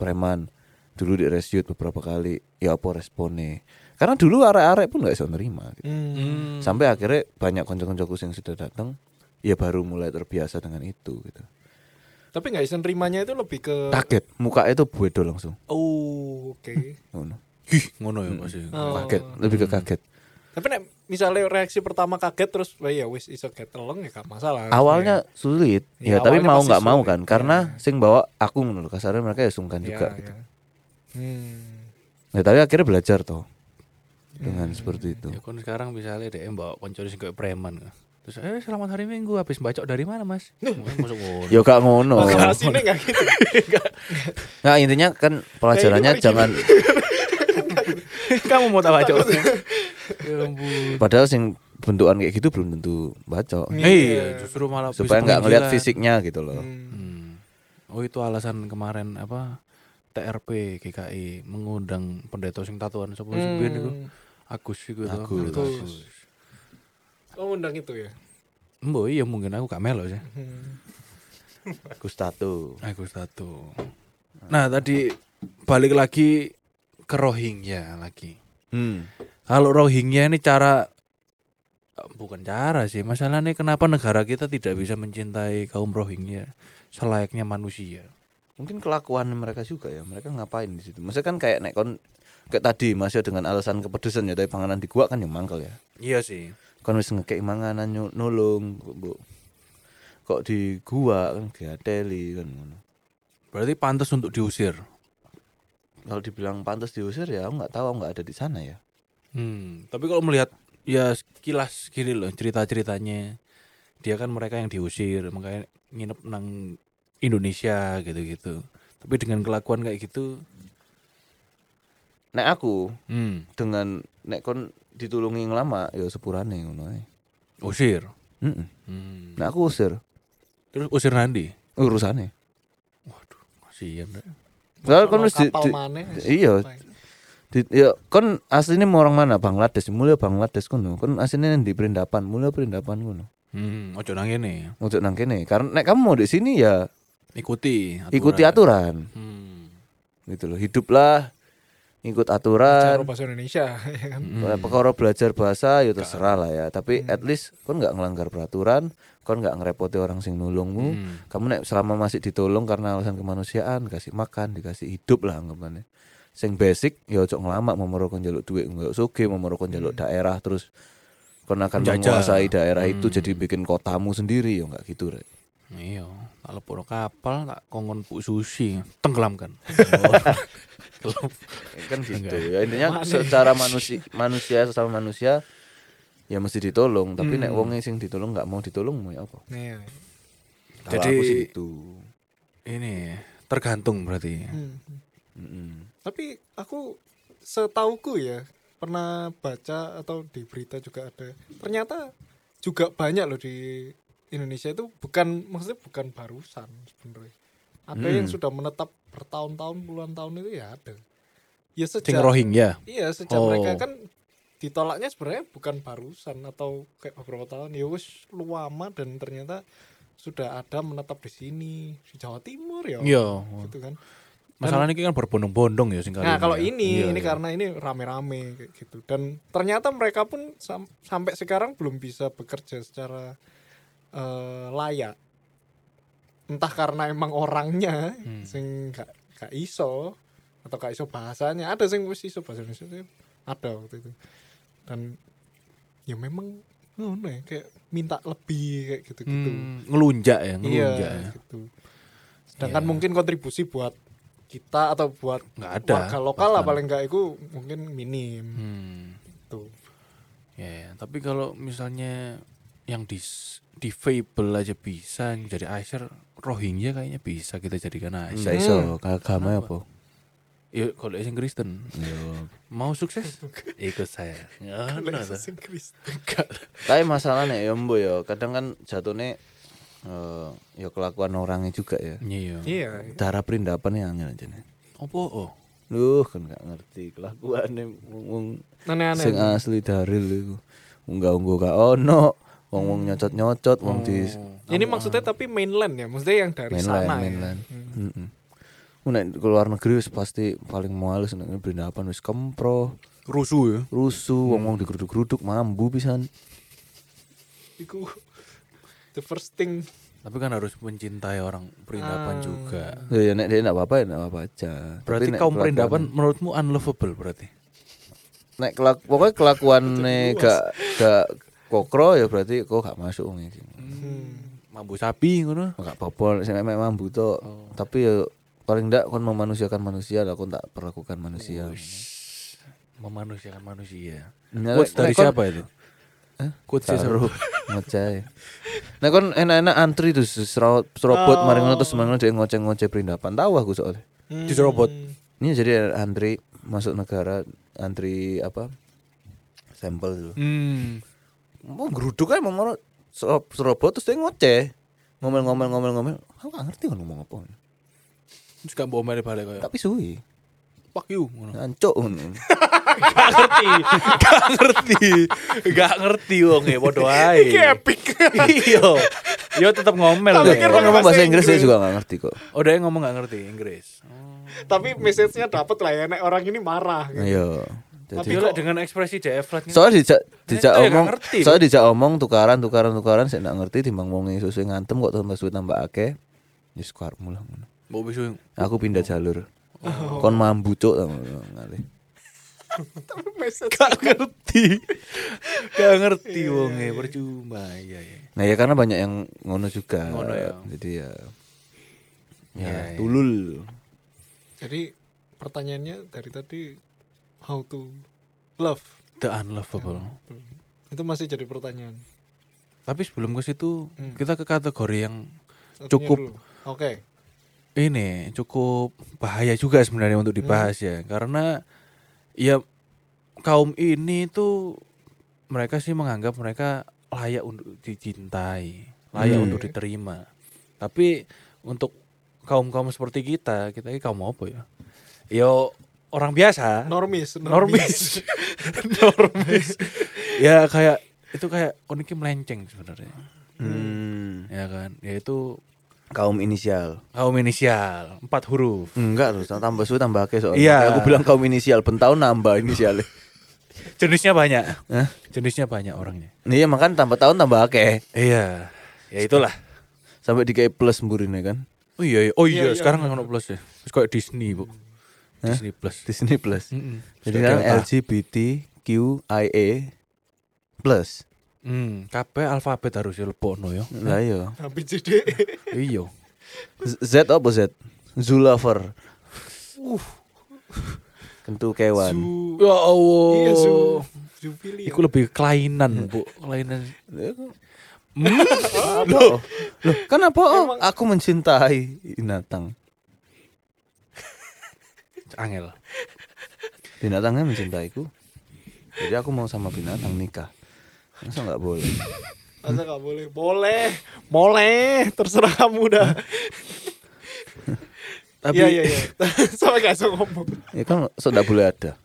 B: preman. Dulu di resyut beberapa kali ya apa responnya. Karena dulu arek-arek pun nggak bisa nerima gitu.
C: Hmm.
A: Hmm.
B: Sampai akhirnya banyak kanca-kancaku yang sudah datang ya baru mulai terbiasa dengan itu gitu.
C: Tapi nggak bisa nerimanya itu lebih ke
B: Kaget, muka itu buedo langsung.
C: Oh, oke.
B: Ngono.
A: Hih, ngono ya pasti.
C: Oh.
B: Kaget, lebih ke kaget.
C: Tapi nek misalnya reaksi pertama kaget terus "Wah, ya wis iso keteleng ya gak masalah.
B: Awalnya sulit, ya,
C: Ya,
B: tapi
C: awalnya
B: mau
C: pasti
B: nggak mau
C: sulit,
B: kan, karena sing bawa aku ngono loh, kasarnya mereka ya sungkan
C: Ya,
B: juga
C: ya.
B: gitu.
C: Hmm.
B: Nah, tapi akhirnya belajar toh dengan seperti itu.
A: Ya kan sekarang misalnya DM bawa konco sing kayak preman. Terus eh selamat hari Minggu habis bacok dari mana, Mas? Masuk ngono.
B: Ya gak ngono.
C: Masa mas ini nggak gitu.
B: Nah, intinya kan
A: gitu,
B: pelajarannya jangan
A: Kamu mau tak bacok? ya ampun.
B: padahal sing bentukan kayak gitu belum tentu baca
A: Iya, justru malah bisa
B: supaya nggak ngelihat
A: penginjilan.
B: fisiknya gitu loh.
C: Hmm.
A: Hmm. Oh, itu alasan kemarin apa? TRP GKI mengundang pendeta sing tatuan sapa sing biyen iku? Agus iku to.
B: Agus.
A: pendeta
C: Oh, undang itu ya.
A: Mbo iya mungkin aku gak melo sih.
B: Gustatu.
A: Agus tato. Nah, tadi balik lagi ke Rohingya lagi.
B: Hmm.
A: Kalau Rohingya ini cara eh, bukan cara sih, masalahnya kenapa negara kita tidak bisa mencintai kaum Rohingya selayaknya manusia.
B: Mungkin kelakuan mereka juga ya. Mereka ngapain di situ? Maksudnya kan kayak nek kon kayak tadi masih dengan alasan kepedesan ya tapi panganan di gua kan yang mangkel ya.
A: Iya sih.
B: Kon wis ngekek manganan nyu- nulung, Bu. kok di gua kan diateli kan ngono.
A: Berarti pantas untuk diusir.
B: Kalau dibilang pantas diusir ya aku nggak tahu aku nggak ada di sana ya.
A: Hmm, tapi kalau melihat ya sekilas gini loh cerita-ceritanya. Dia kan mereka yang diusir, makanya nginep nang Indonesia gitu-gitu. Tapi dengan kelakuan kayak gitu,
B: Nek aku
A: hmm,
B: dengan nek kon ditulungi ngelama ya sepurane ngono ae.
A: usir.
B: Heeh.
A: Hmm.
B: Nek aku usir
A: Terus usir Nandi.
B: urusane.
A: Waduh, kasihan. Rek.
B: Soalnya
C: Kalau
B: kon mesti
C: kapal
B: di-
C: maneh,
B: iya. Di, ya, kon aslinya mau orang mana? Bangladesh. Mulai Bangladesh kono. Kon aslinya di Perindapan. Mulai Perindapan kono.
A: Hmm, ojo nang ngene.
B: Untuk nang kene. Karena nek kamu mau di sini ya
A: Ikuti aturan.
B: ikuti aturan.
A: Hmm.
B: Gitu loh. Hiduplah ikut
C: cara
B: aturan.
C: bahasa Indonesia ya kan.
B: Kalau perkara belajar bahasa ya terserah lah ya. Tapi at least kon nggak ngelanggar peraturan, kon nggak ngerepoti orang sing nulungmu. Kamu nek selama masih ditolong karena alasan kemanusiaan, kasih makan, dikasih hidup lah anggapannya. Sing basic ya ojo ngelamak memoro kon njaluk duit, njaluk sugih, memoro kon njaluk daerah terus kon akan
A: Menjajah.
B: menguasai daerah itu jadi bikin kotamu sendiri ya nggak gitu, Rek.
A: Iya, tak lepuro kapal, tak kongon puk sushi, tenggelamkan. Oh,
B: kan gitu ya intinya secara manusia manusia sesama manusia ya mesti ditolong tapi nek wong sing ditolong nggak mau ditolong mau ya apa
C: Iya.
B: Kalau
A: Jadi-
B: aku sih gitu
A: Ini tergantung berarti.
B: Mm-mm.
C: Tapi aku setauku ya pernah baca atau di berita juga ada. Ternyata juga banyak loh di Indonesia itu bukan maksudnya bukan barusan sebenarnya. Ada yang sudah menetap bertahun-tahun puluhan tahun itu ya ada. Ya
A: Sing
C: sejak
A: Rohingya.
C: iya sejak
A: Oh.
C: mereka kan ditolaknya sebenarnya bukan barusan atau kayak beberapa tahun ya wis lama dan ternyata sudah ada menetap di sini di Jawa Timur ya.
A: Iya.
C: Gitu kan.
A: Masalahnya ini kan berbondong-bondong ya sing kali
C: Nah kalau ini,
A: Iya, iya.
C: ini karena ini rame-rame kayak gitu dan ternyata mereka pun sam- sampai sekarang belum bisa bekerja secara eh, layak. Entah karena emang orangnya
A: Hmm.
C: sing gak, gak iso atau gak iso bahasanya. Ada sing wis iso bahasa Indonesia tapi ada waktu itu. Dan ya memang ngono ya, kayak minta lebih kayak gitu-gitu.
A: Hmm, ngelunjak ya, ngelunjak ya.
C: Iya, gitu. Sedangkan mungkin kontribusi buat kita atau buat
A: Iya. Nggak ada,
C: warga lokal lah paling nggak itu mungkin minim. gitu.
A: Hmm.
C: Tuh.
A: Ya, ya. tapi kalau misalnya yang di di Fable aja bisa yang jadi Acer Rohingya kayaknya bisa kita jadikan
B: nggak
A: Acer.
B: Nah, iso agama ya apa
A: Iya, kalau yang Kristen
B: Yo.
A: mau sukses Iya. ikut saya. Ya,
C: Kalau
A: benar.
C: Yesus yang Kristus.
B: tapi masalahnya ya mbo ya kadang kan jatuhnya eh, ya kelakuan orangnya juga ya
A: Iya.
C: Iya.
B: cara perindapan yang angel aja nih
A: Opo oh.
B: Duh, kan nggak ngerti kelakuannya wong
C: Aneh-aneh.
B: sing asli dari lu nggak unggul gak ono wong wong nyocot nyocot wong di
C: Ini maksudnya tapi mainland ya, maksudnya yang dari
B: mainland
C: sana
B: mainland Mm-mm. Ku nek ke luar negeri wis pasti paling males nek berindapan wis kempro
A: Rusuh ya.
B: rusuh wong wong digeruduk-geruduk mambu pisan
C: ya. Iku the first thing.
A: Tapi kan harus mencintai orang perindapan
C: Ah.
A: juga.
B: ya ya, nek dia nggak apa-apa ya nggak apa-apa aja Tapi
A: Berarti
B: nek
A: kaum
B: kelakuan-
A: perindapan menurutmu unlovable berarti?
B: nek kelak pokoknya kelakuannya gak gak kokro ya berarti kok gak masuk wong iki
A: Mambu sapi ngono.
B: gak apa-apa sing emek mambu tok
A: Oh.
B: tapi ya paling ndak kon memanusiakan manusia lah kon tak perlakukan manusia
A: Oh, Memanusiakan manusia.
B: Nah,
A: Iya. Quotes
B: nek
A: dari
B: kon-
A: siapa itu? Quotes dari
B: Baru ngoceh. Nah kon enak-enak antri terus serawat serobot
A: Oh.
B: mari ngono terus mari ngono dia ngoceh-ngoceh perindapan. Tahu aku soalnya.
A: Hmm. diserobot.
B: Ini jadi antri masuk negara antri apa? Sampel dulu.
A: Hmm.
B: Mau geruduk ae mau ngono sero- serobot terus dia ngoceh. Ngomel-ngomel-ngomel-ngomel. Aku gak ngerti kan ngomong apa.
A: Terus gak mbok omel balik kayak
B: Tapi suwi.
A: fuck you ngono.
B: Ancuk ngono.
A: Gak ngerti. Gak ngerti. Gak ngerti wong e padha ae.
C: Iki epic.
A: Iya. Yo tetap ngomel.
C: Tak
A: deh.
C: pikir
B: Kan ngomong bahasa Inggris saya
C: Inggris.
B: juga gak ngerti kok.
A: Oh, dia ngomong gak ngerti Inggris.
C: tapi message-nya dapat lah ya, nek orang ini marah. Gitu.
B: Ayo. Jadi
A: Tapi kok dengan ekspresi dia flat
B: soalnya dijak
A: Itu ya
B: dijak
A: gak
B: omong
A: ngerti,
B: soalnya dijak omong tukaran tukaran tukaran saya nggak ngerti timbang wong susu ngantem kok tambah suwe tambah akeh ya sekuar mulah ngono.
A: Mbok bisu. Oh.
B: aku pindah jalur kon mambu cuk tau nggak, ngalih.
C: message
A: Gak ngerti. iya, Gak ngerti wonge percuma. Iya iya.
B: Nah ya karena banyak yang ngono juga.
A: Ngono ya.
B: Jadi ya ya,
A: Ya, ya.
B: tulul.
C: Jadi pertanyaannya dari tadi how to love
A: The unlovable.
C: itu masih jadi pertanyaan.
A: Tapi sebelum ke situ
C: Hmm.
A: kita ke kategori yang
C: Satunya
A: Cukup.
C: dulu. Oke.
A: ini cukup bahaya juga sebenarnya untuk dibahas ya karena ya kaum ini tuh mereka sih menganggap mereka layak untuk dicintai layak
B: Hmm.
A: untuk diterima tapi untuk kaum kaum seperti kita kita ini kaum apa ya yo orang biasa
C: Normis.
A: normis normis ya kayak itu kayak koniki melenceng sebenarnya
B: Hmm.
A: ya kan yaitu
B: Kaum inisial.
A: kaum inisial empat huruf
B: Enggak loh, tambah suwe tambah akeh soalnya.
A: Iya.
B: Aku bilang kaum inisial, bentau nambah inisialnya.
A: jenisnya banyak
B: Hah?
A: jenisnya banyak orangnya
B: Iya makan tambah tahun tambah akeh.
A: iya ya itulah
B: Sampai di plus mburine kan.
A: oh iya, iya. oh iya,
C: Iya, iya.
A: sekarang nggak plus ya terus kayak Disney bu Disney plus
B: Disney plus.
A: Mm-mm.
B: Jadi
A: Hmm. Sudah
B: sekarang
A: Delta.
B: LGBTQIA plus.
A: hmm kabeh alfabet harus dilebokno yo
B: Lah yo.
C: BCD.
A: iya
B: Z- Z apa Z? Zulover.
C: Uh,
B: Kentu kewan.
C: Zu.
A: ya
C: Iya, Zu.
B: Oh.
A: Allah
C: Zu pilih. ya.
A: Iku lebih kelainan bu Hmm. kelainan
B: Loh, loh, kenapa oh, aku mencintai binatang?
A: angel
B: Binatangnya mencintaiku. Jadi aku mau sama binatang nikah. Masa nggak boleh?
C: Masa nggak boleh? Boleh. Boleh. Terserah kamu dah.
A: tapi
C: Iya iya iya. Sama gak usah ngomong.
B: Ya kan so nggak boleh ada.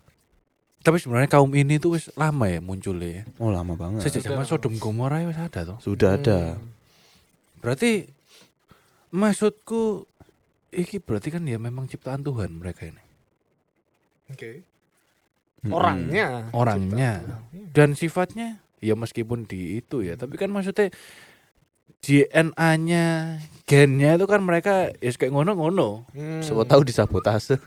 A: tapi sebenarnya kaum ini tuh wis lama ya munculnya ya.
B: Oh lama banget.
A: sejak zaman Sodom Gomora ya wis ada toh
B: Sudah ada.
A: Berarti maksudku iki berarti kan ya memang ciptaan Tuhan mereka ini.
C: Oke.
B: Mm-mm. Oh.
C: Orangnya.
A: Orangnya dan sifatnya ya meskipun di itu ya, tapi kan maksudnya DNA-nya, gennya itu kan mereka ya kayak ngono-ngono.
C: Hmm.
B: Siapa tahu disabotase.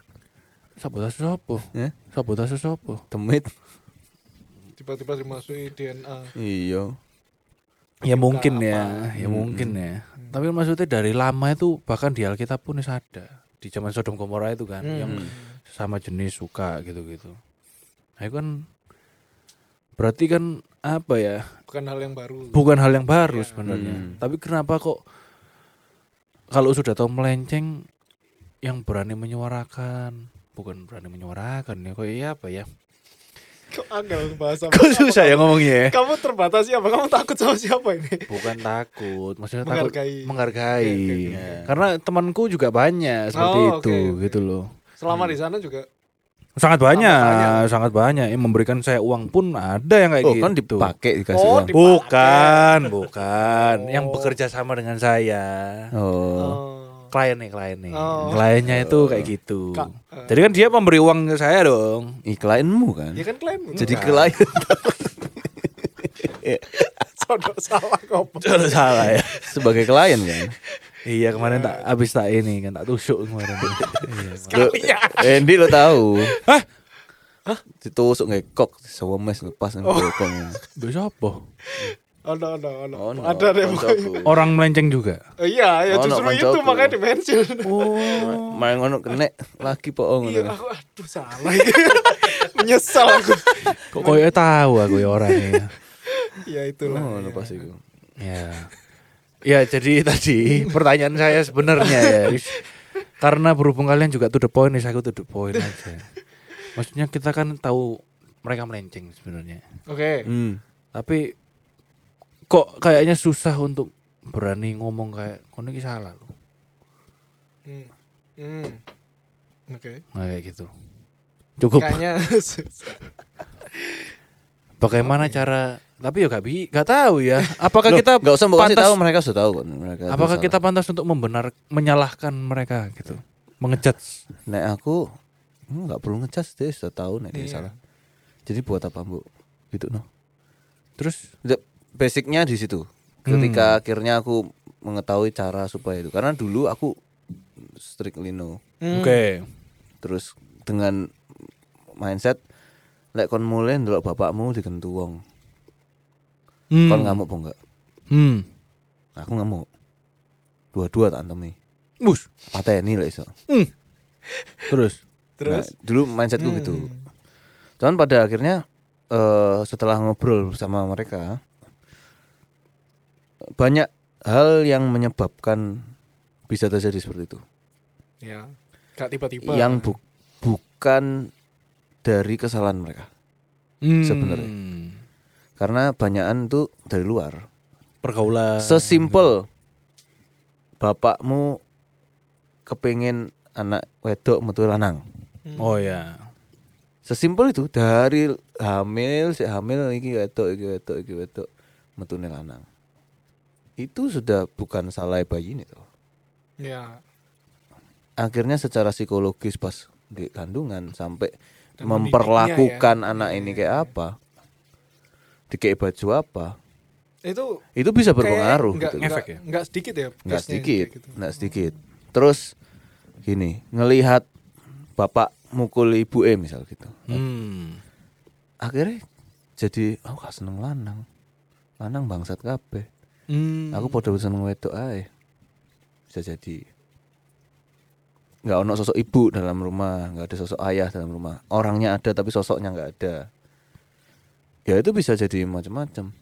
A: Sabotase sopo?
B: Ya?
A: Sabotase sopo?
B: Temit.
C: Tiba-tiba dimasuki DNA.
B: Iya.
A: Ya
C: Ciptaan
A: mungkin
C: apa?
A: ya, ya
B: Hmm.
A: mungkin ya. Tapi maksudnya dari lama itu bahkan di Alkitab pun wis ada di zaman Sodom Gomora itu kan yang
C: Hmm.
A: sama jenis suka gitu-gitu. Nah, itu kan berarti kan apa ya?
C: Bukan hal yang baru.
A: Bukan hal yang baru sebenarnya.
B: Hmm.
A: Tapi kenapa kok kalau sudah tahu melenceng yang berani menyuarakan, bukan berani menyuarakan ya kok iya apa ya?
C: Kok agak bahasa.
B: Kok susah ya ngomongnya ya?
C: Kamu terbatas siapa? Kamu takut sama siapa ini?
A: Bukan takut, maksudnya
C: Menghargai.
A: takut
B: Iya,
A: menghargai. Iya.
C: Oke, oke,
B: oke.
A: Karena temanku juga banyak seperti
C: Oh, oke,
A: itu
C: oke.
A: gitu loh.
C: Selama
B: Hmm.
C: di sana juga
A: Sangat banyak,
C: banyak.
A: sangat banyak yang memberikan saya uang pun ada yang kayak
B: Oh
A: gitu.
B: kan dipakai dikasih
C: Oh,
B: uang.
C: dipakai.
A: Bukan, bukan. Yang
C: Oh.
A: bekerja sama dengan saya.
B: Oh.
C: Oh.
A: Klien nih, klien nih.
C: Oh.
A: Kliennya itu kayak gitu.
C: Ka- eh.
A: Jadi kan dia memberi uang ke saya dong.
B: Iklainmu kan.
C: Ya kan klaim
B: Jadi
A: Bukan.
B: klien
C: Sodok salah ngomong.
A: Kalau salah ya.
B: sebagai klien kan.
A: iya kemarin tak habis tak ini kan tak tusuk kemarin. iya. kemarin.
C: Kalian.
B: Endi lo tahu.
A: Hah?
B: Ditusuk ngekok, sewemes ngepas ngekok.
A: Besok apa?
C: Oh no no no.
B: Oh, no,
C: Ada deh pokoknya.
B: koncoku.
A: Orang melenceng juga.
C: Oh, Iya, ya
B: Oh, no,
C: justru itu
B: koncoku.
C: makanya di mention.
A: Oh.
B: Main ngono kena lagi po
C: Iya,
B: ngono.
C: aku aduh salah. Menyesal aku.
A: Kok koyo tahu aku ya orangnya.
C: Ya itulah.
B: Ngono
C: ya.
B: pas Oh, iku.
A: Ya. Ya, jadi tadi pertanyaan saya sebenarnya ya. is- Karena berhubung kalian juga to the point, is aku to the point aja. Maksudnya kita kan tahu mereka melenceng sebenarnya.
C: Oke.
B: Hmm.
A: Tapi kok kayaknya susah untuk berani ngomong kayak kono iki salah loh.
C: Hmm. Hmm. Oke.
A: Nah, kayak gitu. Cukup.
C: Kayaknya susah.
A: Bagaimana cara tapi ya gak, bi gak tahu ya. Apakah kita
B: Enggak usah mbok kasih
A: pantas-
B: tahu mereka sudah tahu kan mereka. tuh
A: Apakah
B: salah.
A: kita pantas untuk membenar menyalahkan mereka gitu. Mengejudge.
B: nek aku hmm, nggak perlu ngecas deh sudah tahu nek dia
C: Iya.
B: salah. Jadi buat apa mbok? Gitu no.
A: Terus
B: Da- Basicnya di situ.
A: Hmm.
B: Ketika akhirnya aku mengetahui cara supaya itu. Karena dulu aku strictly no.
A: oke.
B: Terus dengan mindset lek kon mulai ndelok bapakmu digentu wong.
A: Hmm.
B: Kon ngamuk apa enggak?
A: Hmm.
B: Aku ngamuk. Dua-dua tak antemi.
A: Bus.
B: Pateni lek iso.
A: Hmm. Terus.
C: Terus
B: Nah, dulu mindsetku gitu. Cuman pada akhirnya eh setelah ngobrol sama mereka banyak hal yang menyebabkan bisa terjadi seperti itu.
C: ya gak tiba-tiba
B: Yang bu- bukan dari kesalahan mereka.
A: Hmm.
B: Sebenarnya. Karena banyakan tuh dari luar.
A: pergaulan.
B: Sesimpel bapakmu kepingin anak wedok metu lanang.
A: Oh ya.
B: Sesimpel itu dari hamil, si hamil iki wedok, iki wedok, iki wedok metune lanang. Itu sudah bukan salah bayi ini tuh.
C: ya
B: Akhirnya secara psikologis pas di kandungan sampai
C: Dan ya? Iya,
B: memperlakukan anak ini kayak apa, dikei baju apa,
C: itu
B: itu bisa berpengaruh
C: nggak
B: gitu. loh.
A: Efek ya?
C: nggak sedikit ya
B: nggak
C: case-nya yang
B: sedikit,
C: kayak gitu.
B: nggak sedikit. Terus gini, ngelihat bapak mukul ibu e misal gitu.
A: Hmm.
B: Akhirnya jadi aku gak seneng lanang. Lanang bangsat kabeh.
A: Hmm.
B: Aku podo seneng wedok ae. Bisa jadi nggak ono sosok ibu dalam rumah, nggak ada sosok ayah dalam rumah. Orangnya ada tapi sosoknya nggak ada. Ya itu bisa jadi macam-macam.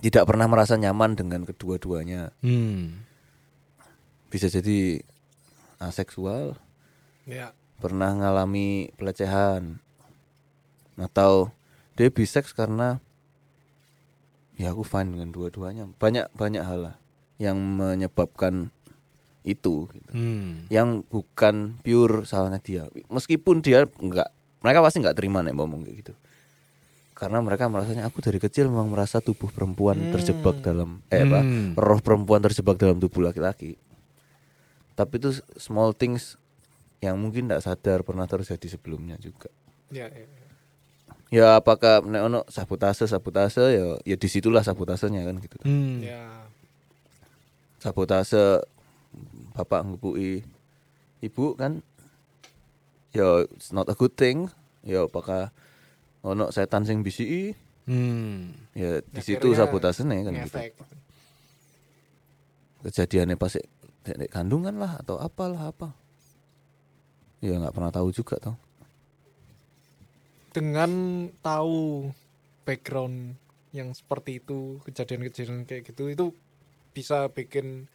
B: Tidak pernah merasa nyaman dengan kedua-duanya.
A: Hmm.
B: bisa jadi aseksual,
C: ya
B: pernah ngalami pelecehan, atau dia biseks karena ya aku fine dengan dua-duanya. Banyak banyak hal lah yang menyebabkan itu, gitu.
A: Hmm.
B: yang bukan pure salahnya dia. Meskipun dia nggak, mereka pasti nggak terima nih ngomong kayak gitu. Karena mereka merasanya aku dari kecil memang merasa tubuh perempuan terjebak dalam eh apa
A: Hmm.
B: roh perempuan terjebak dalam tubuh laki-laki. Tapi itu small things yang mungkin tidak sadar pernah terjadi sebelumnya juga.
C: ya, ya, ya.
B: Ya apakah nek ono sabotase sabotase ya ya disitulah sabotasenya kan gitu.
A: Hmm.
C: ya.
B: Sabotase bapak ngepui ibu kan ya it's not a good thing. Ya apakah ono setan sing bisi
A: Hmm.
B: ya di situ
C: Akhirnya
B: sabotasenya kan gitu.
C: ngefek.
B: kejadiannya pas sik- sik nek kandungan lah atau apalah apa ya nggak pernah tahu juga toh
C: dengan tahu background yang seperti itu kejadian-kejadian kayak gitu itu bisa bikin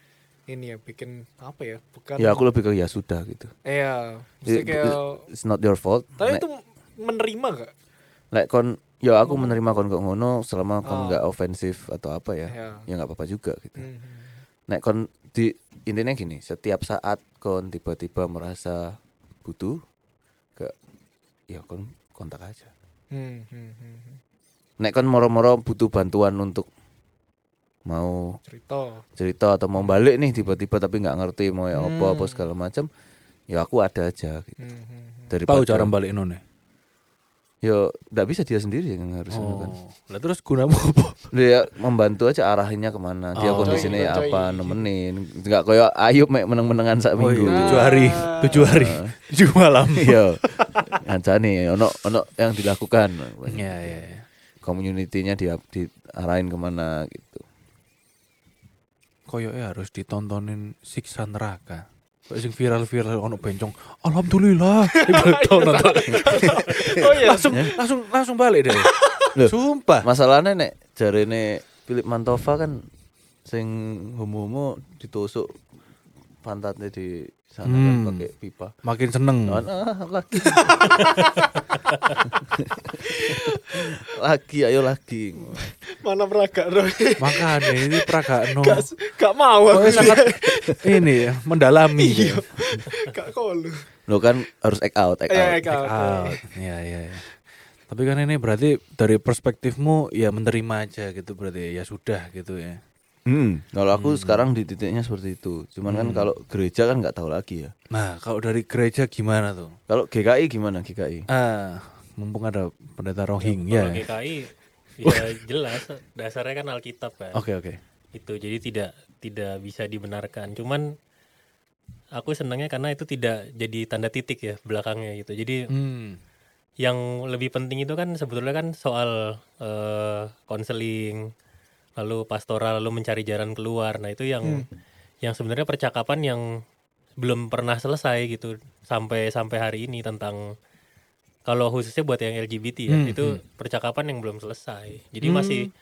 C: ini ya bikin apa ya bukan
B: ya aku lebih ke ya sudah gitu
C: iya
B: Ya,
C: mesti kayak
B: it's not your fault
C: tapi
D: Nah.
B: Nek-
C: itu menerima gak
B: nek kon ya aku menerima kon kok ngono selama kon
C: Ah.
B: nggak ofensif atau apa
D: Iya.
B: ya
C: Ya.
B: ya nggak apa-apa juga gitu
C: Hmm.
B: nek kon di intinya gini setiap saat kon tiba-tiba merasa butuh ke ya kon kontak aja
C: Hmm, hmm, hmm, hmm.
B: nek kon moro-moro butuh bantuan untuk mau
C: cerita
B: cerita atau mau balik nih tiba-tiba tapi nggak ngerti mau ya apa apa segala macam ya aku ada aja gitu.
C: Hmm, hmm, hmm.
B: dari
A: Hmm. Tahu cara balik none.
B: ya nggak bisa dia sendiri yang harusnya kan
A: Oh. Lah terus gunamu apa?
B: dia membantu aja arahinnya kemana dia
A: Oh.
B: kondisinya ya
C: Coy,
B: apa
C: coy.
B: nemenin nggak kayak Ayub mek meneng-menengan sak
A: Oh,
B: minggu Ah.
A: iya, tujuh
C: Nah.
A: hari, tujuh hari, tujuh malam.
B: iya ngancani ono ono yang dilakukan
A: Iya, iya, iya.
B: community-nya dia diarahin kemana gitu
A: Koyoknya harus ditontonin siksa neraka. Kayak sing viral-viral ono bencong. Alhamdulillah.
B: Iya,
A: Dibeton nonton.
C: oh iya
A: langsung langsung langsung balik deh.
B: Ya. Loh.
A: Sumpah.
B: masalahnya nek jarene Philip Mantova kan sing homo-homo ditusuk pantatnya di sana
A: Hmm.
B: kan pakai pipa.
A: Makin seneng.
B: Kan, ah, lagi. lagi ayo lagi.
C: mana peraga Roy?
A: Makanya ini peragaan no.
C: gak, gak mau aku
A: Pokoknya sangat ini ya,
B: Iya.
A: mendalami. ya.
C: gak kolu
B: Lo kan harus act out, act
C: ya
B: out.
C: gak
A: Out. Iya, iya, iya. Tapi kan ini berarti dari perspektifmu ya menerima aja gitu berarti ya sudah gitu ya.
B: Hmm, kalau aku sekarang di titiknya seperti itu. Cuman kan kalau gereja kan nggak tahu lagi ya.
A: Nah, kalau dari gereja gimana tuh?
B: Kalau GKI gimana GKI?
A: Ah, mumpung ada pendeta
D: Kalau
A: Rohingya.
D: GKI ya jelas dasarnya kan Alkitab kan.
A: Oke, oke.
D: Itu jadi tidak tidak bisa dibenarkan. Cuman aku senangnya karena itu tidak jadi tanda titik ya belakangnya gitu. Jadi
A: Hmm.
D: yang lebih penting itu kan sebetulnya kan soal eh, konseling lalu pastoral lalu mencari jalan keluar nah itu yang yang sebenarnya percakapan yang belum pernah selesai gitu sampai sampai hari ini tentang kalau khususnya buat yang LGBT ya itu percakapan yang belum selesai jadi masih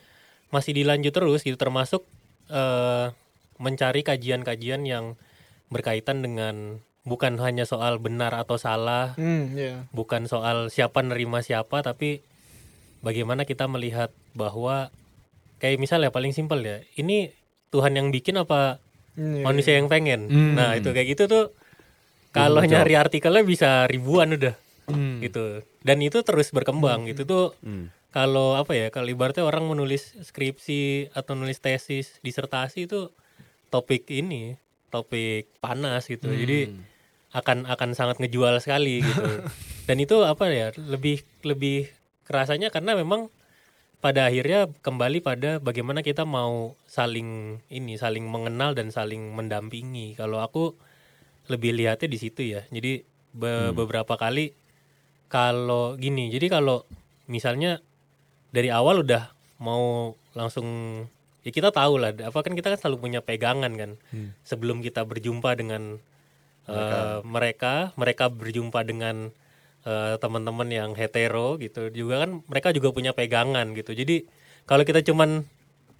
D: masih dilanjut terus gitu termasuk eh, mencari kajian-kajian yang berkaitan dengan bukan hanya soal benar atau salah
C: Hmm, ya.
D: bukan soal siapa nerima siapa tapi bagaimana kita melihat bahwa kayak misalnya paling simpel ya ini Tuhan yang bikin apa
C: Hmm, ya.
D: manusia yang pengen nah itu kayak gitu tuh kalau nyari artikelnya bisa ribuan udah gitu dan itu terus berkembang gitu tuh kalau apa ya kalau ibaratnya orang menulis skripsi atau nulis tesis disertasi itu topik ini topik panas gitu jadi akan akan sangat ngejual sekali gitu dan itu apa ya lebih lebih kerasanya karena memang pada akhirnya kembali pada bagaimana kita mau saling ini saling mengenal dan saling mendampingi kalau aku lebih lihatnya di situ ya jadi be- beberapa kali kalau gini jadi kalau misalnya dari awal udah mau langsung ya kita tahu lah apa kan kita kan selalu punya pegangan kan sebelum kita berjumpa dengan eh, mereka mereka berjumpa dengan eh, teman-teman yang hetero gitu juga kan mereka juga punya pegangan gitu jadi kalau kita cuman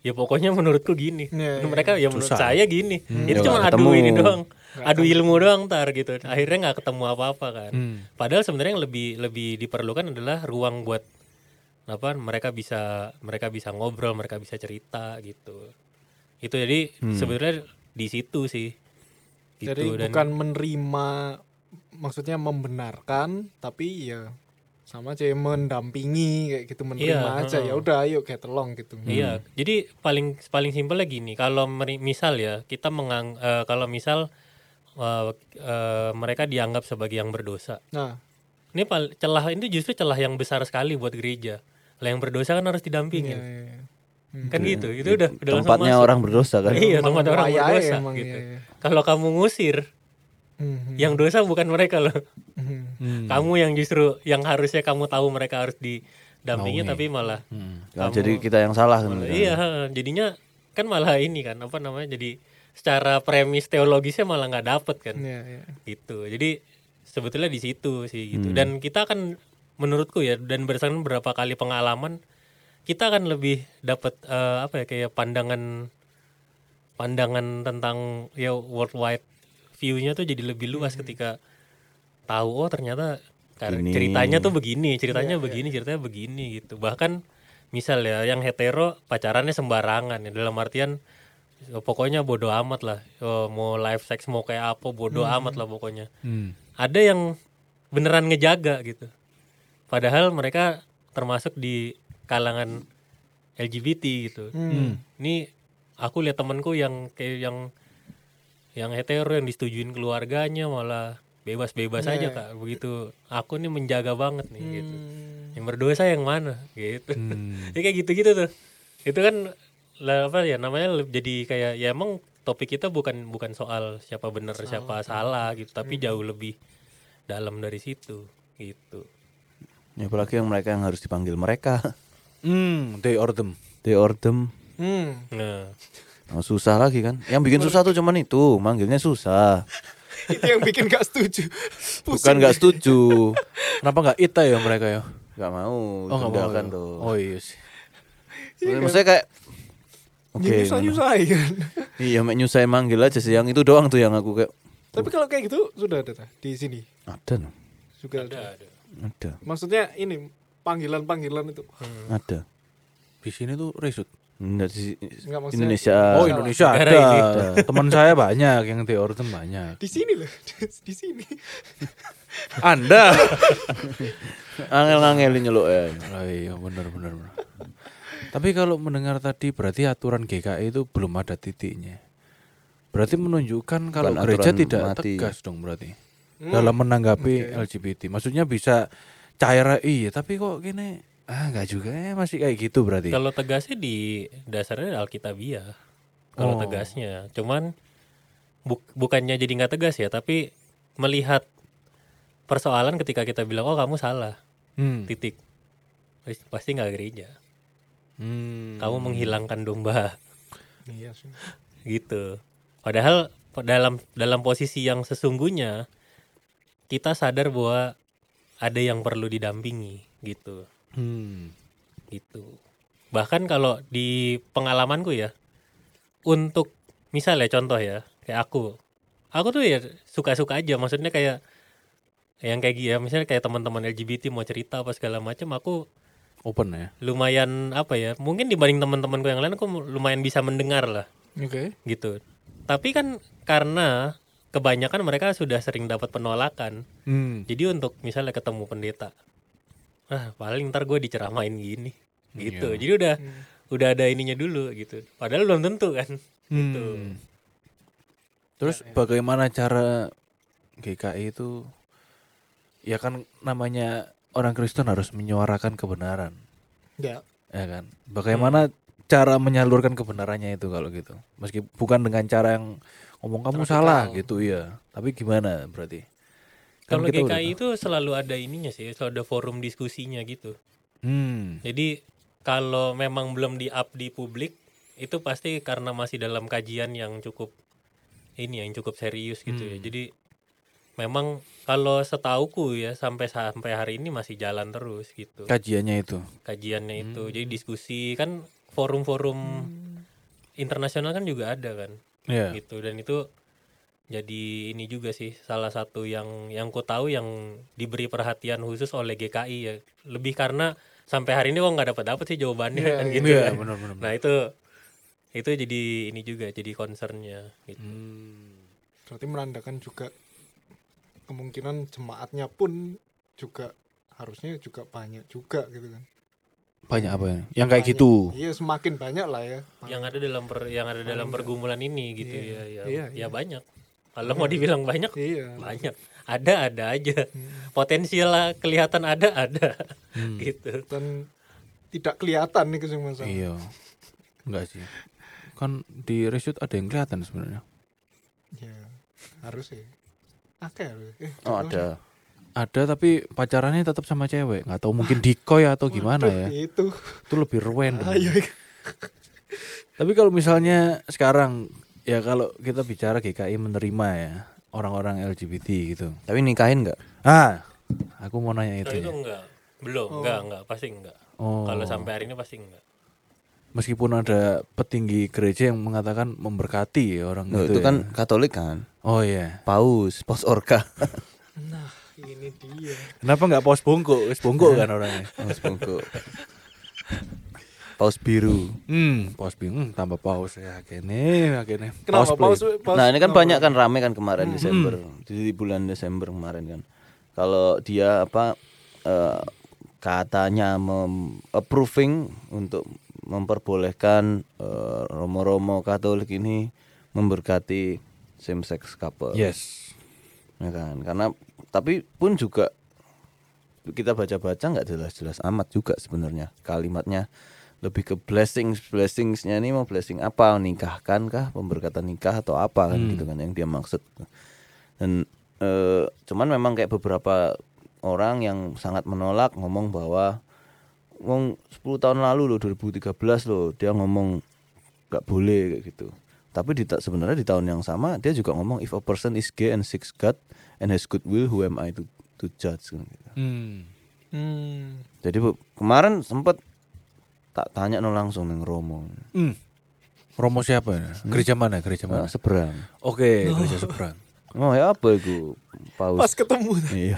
D: ya pokoknya menurutku gini
C: Iya,
D: Menurut mereka ya menurut saya gini itu
B: Ya,
D: cuma
B: nggak
D: adu
B: ketemu.
D: ini doang adu ilmu doang tar gitu akhirnya nggak ketemu apa-apa kan
B: Hmm.
D: padahal sebenarnya yang lebih lebih diperlukan adalah ruang buat apa mereka bisa mereka bisa ngobrol mereka bisa cerita gitu itu jadi
B: Hmm.
D: sebenarnya di situ sih gitu
C: Jadi
D: dan
C: bukan menerima maksudnya membenarkan tapi ya sama aja mendampingi kayak gitu menerima
D: Iya,
C: aja ya udah ayo get along gitu.
B: Hmm.
D: Iya, jadi paling paling simpel gini, kalau meri- misal ya kita mengang eh, kalau misal eh, eh, mereka dianggap sebagai yang berdosa.
C: Nah,
D: Ini pal- celah itu justru celah yang besar sekali buat gereja. Lah yang berdosa kan harus
C: ya,
D: didampingin.
C: ya, ya.
D: Kan gitu. Itu udah udah langsung
B: Iya, Tempatnya
D: masuk.
B: orang berdosa kan.
D: Iya,
C: Emang
D: tempat orang
C: wayahe
D: berdosa
C: emang,
D: gitu.
C: iya, iya.
D: Kalau kamu ngusir,
C: Mhm,
D: yang dosa bukan mereka loh.
C: mhm.
B: Hmm.
D: Kamu yang justru yang harusnya kamu tahu mereka harus didampingi tapi malah
B: Nah, jadi kita yang salah kan.
D: Malah- iya, jadinya kan malah ini kan apa namanya jadi secara premis teologisnya malah nggak dapet kan
C: Iya, iya.
D: gitu. Jadi sebetulnya di situ sih gitu. Dan kita akan menurutku ya dan berdasarkan beberapa kali pengalaman kita akan lebih dapat eh, apa ya kayak pandangan pandangan tentang ya worldwide view-nya tuh jadi lebih luas ketika tahu oh ternyata kar-
B: Ini.
D: ceritanya tuh begini, ceritanya begini, ceritanya begini gitu. Bahkan misal ya yang hetero pacarannya sembarangan ya dalam artian ya, pokoknya bodoh amat lah. Oh, mau live sex mau kayak apa bodoh amat lah pokoknya.
A: Hmm.
D: Ada yang beneran ngejaga gitu. Padahal mereka termasuk di kalangan LGBT gitu. Ini aku lihat temanku yang kayak yang yang hetero yang disetujuin keluarganya malah bebas-bebas aja kak begitu aku nih menjaga banget nih gitu yang berdosa yang mana gitu ya kayak gitu-gitu tuh itu kan lah, apa ya namanya le- jadi kayak ya emang topik kita bukan bukan soal siapa benar siapa salah gitu tapi jauh lebih dalam dari situ gitu
B: Ya, apalagi yang mereka yang harus dipanggil mereka.
A: Hmm, they or them.
B: They ordem.
C: Hmm.
D: nah
B: Nah, susah lagi kan. Yang bikin susah tuh cuman itu, manggilnya susah.
C: itu yang bikin gak setuju.
B: Bukan
C: Pusing.
B: nggak setuju.
A: Kenapa nggak ita ya mereka ya?
B: Nggak mau,
A: nggak
B: tunda kan
A: ya. Iya kan?
B: tuh.
A: Oh iya sih.
B: Maksudnya kayak Oke,
C: Jadi susah-susah ya kan.
B: iya mek nyusahin manggil aja sih yang itu doang tuh yang aku kayak
C: Tapi kalau kayak gitu sudah ada dah, di sini
B: ada no?
C: juga ada.
B: ada,
C: Maksudnya ini panggilan-panggilan itu.
A: Hmm.
B: ada.
A: Di sini tuh risut.
B: Enggak di
C: Nggak, maksudnya-
B: Indonesia.
A: oh Indonesia
D: Negara
A: ada. Teman saya banyak yang they or them banyak.
C: Di sini loh, di sini.
A: Anda.
B: Angel-angelin nyeluk ya.
A: oh, iya benar benar. benar. Tapi kalau mendengar tadi berarti aturan GKI itu belum ada titiknya. Berarti menunjukkan kalau
B: Bukan
A: gereja
B: aturan
A: tidak
B: mati.
A: tegas dong berarti. Dalam menanggapi LGBT. Maksudnya bisa cair iya tapi kok gini ah nggak juga ya masih kayak gitu berarti.
D: Kalau tegasnya di dasarnya Alkitabiah.
A: Oh.
D: Kalau tegasnya, cuman buk- bukannya jadi nggak tegas ya, tapi melihat persoalan ketika kita bilang oh kamu salah.
A: Hmm.
D: titik Terus pasti nggak gereja
A: Hmm.
D: kamu menghilangkan domba
C: Iya sih.
D: gitu padahal po- dalam dalam posisi yang sesungguhnya kita sadar bahwa ada yang perlu didampingi gitu
A: Hmm.
D: gitu bahkan kalau di pengalamanku ya untuk misalnya contoh ya kayak aku aku tuh ya suka-suka aja maksudnya kayak yang kayak gitu ya misalnya kayak teman-teman LGBT mau cerita apa segala macam aku
A: Open ya.
D: lumayan apa ya mungkin dibanding teman-temanku yang lain aku lumayan bisa mendengar lah
C: Oke.
D: gitu tapi kan karena kebanyakan mereka sudah sering dapat penolakan
A: Hmm.
D: jadi untuk misalnya ketemu pendeta, ah paling ntar gue diceramain gini, gitu.
A: Iya.
D: Jadi udah udah ada ininya dulu gitu. Padahal belum tentu kan. Gitu.
A: Terus bagaimana cara GKI itu ya kan namanya orang Kristen harus menyuarakan kebenaran,
C: Ya.
A: ya kan? Bagaimana cara menyalurkan kebenarannya itu kalau gitu? Meski bukan dengan cara yang ngomong kamu salah gitu ya, tapi gimana berarti? Kan
D: Kalau
A: kita udah
D: GKI itu selalu ada ininya sih, selalu ada forum diskusinya gitu.
A: Hmm.
D: Jadi kalau memang belum di-up di publik itu pasti karena masih dalam kajian yang cukup ini yang cukup serius gitu ya. Jadi memang kalau setauku ya sampai sampai hari ini masih jalan terus gitu.
A: Kajiannya itu.
D: kajiannya itu jadi diskusi kan forum-forum internasional kan juga ada kan
A: Ya.
D: gitu dan itu jadi ini juga sih salah satu yang yang ku tahu yang diberi perhatian khusus oleh GKI ya lebih karena sampai hari ini kok nggak dapat dapat sih jawabannya
C: Iya,
D: kan
C: iya.
D: gitu
A: Iya,
D: kan.
A: benar-benar.
D: nah itu itu jadi ini juga jadi concernnya gitu.
C: Hmm. Berarti menandakan juga kemungkinan jemaatnya pun juga harusnya juga banyak juga gitu kan.
A: Banyak apa ya? Yang kayak
C: Banyak.
A: gitu.
C: Iya semakin banyak lah ya.
D: yang ada dalam per, yang ada dalam pergumulan ini gitu
C: Iya,
D: ya ya,
C: iya, iya.
D: ya banyak kalau mau dibilang banyak
C: Iya. Hmm.
D: banyak ada ada aja potensial lah, kelihatan ada ada gitu
C: Dan tidak kelihatan nih kesini masalah.
A: Iya. Enggak sih. Kan di reshoot ada yang kelihatan sebenarnya.
C: Iya. Harus sih. Oke, harus. Eh,
B: Oh ada.
A: Ada tapi pacarannya tetap sama cewek. Nggak tahu mungkin decoy atau gimana ya.
C: Itu.
A: Itu lebih random.
C: Ayo.
A: Tapi kalau misalnya sekarang ya kalau kita bicara GKI menerima ya orang-orang LGBT gitu.
B: Tapi nikahin nggak?
A: Ah, aku mau nanya itu.
D: Kalau Oh, itu
A: ya.
D: enggak belum enggak enggak pasti enggak
A: Oh.
D: kalau sampai hari ini pasti enggak
A: Meskipun ada petinggi gereja yang mengatakan memberkati ya orang
B: Loh,
A: gitu
B: itu
A: ya.
B: kan Katolik kan?
A: Oh iya.
B: Paus, paus orka.
C: Nah, ini dia.
A: Kenapa nggak paus bongko? Wis bongko kan orangnya.
B: paus bungkuk. Paus biru.
A: Hmm, paus bingung tambah paus ya kene, kene.
C: Kenapa
A: play.
C: paus? paus-
B: Nah ini kan
C: kenapa?
B: banyak kan rame kan kemarin
A: Hmm.
B: Desember di bulan Desember kemarin kan. Kalau dia apa eh, katanya mem- approving untuk memperbolehkan eh, romo-romo Katolik ini memberkati same sex couple.
A: Yes.
B: Ya kan? Karena tapi pun juga kita baca-baca nggak jelas-jelas amat juga sebenarnya kalimatnya lebih ke blessings blessingsnya ini mau blessing apa nikahkan kah pemberkatan nikah atau apa kan gitu kan yang dia maksud dan eh, cuman memang kayak beberapa orang yang sangat menolak ngomong bahwa wong 10 tahun lalu loh 2013 loh dia ngomong nggak boleh kayak gitu tapi di ta- sebenarnya di tahun yang sama dia juga ngomong if a person is gay and seeks God and has good will who am I to to judge kan gitu.
A: Hmm.
C: Hmm.
B: Jadi Bu, kemarin sempet tak tanya no langsung neng Romo.
A: Hmm. Romo siapa ya? Gereja mana? Gereja
B: Nah,
A: mana?
B: seberang.
A: Ah. Oke, gereja seberang.
B: Oh ya apa itu
C: Pas
B: paus?
C: ketemu.
B: Iya.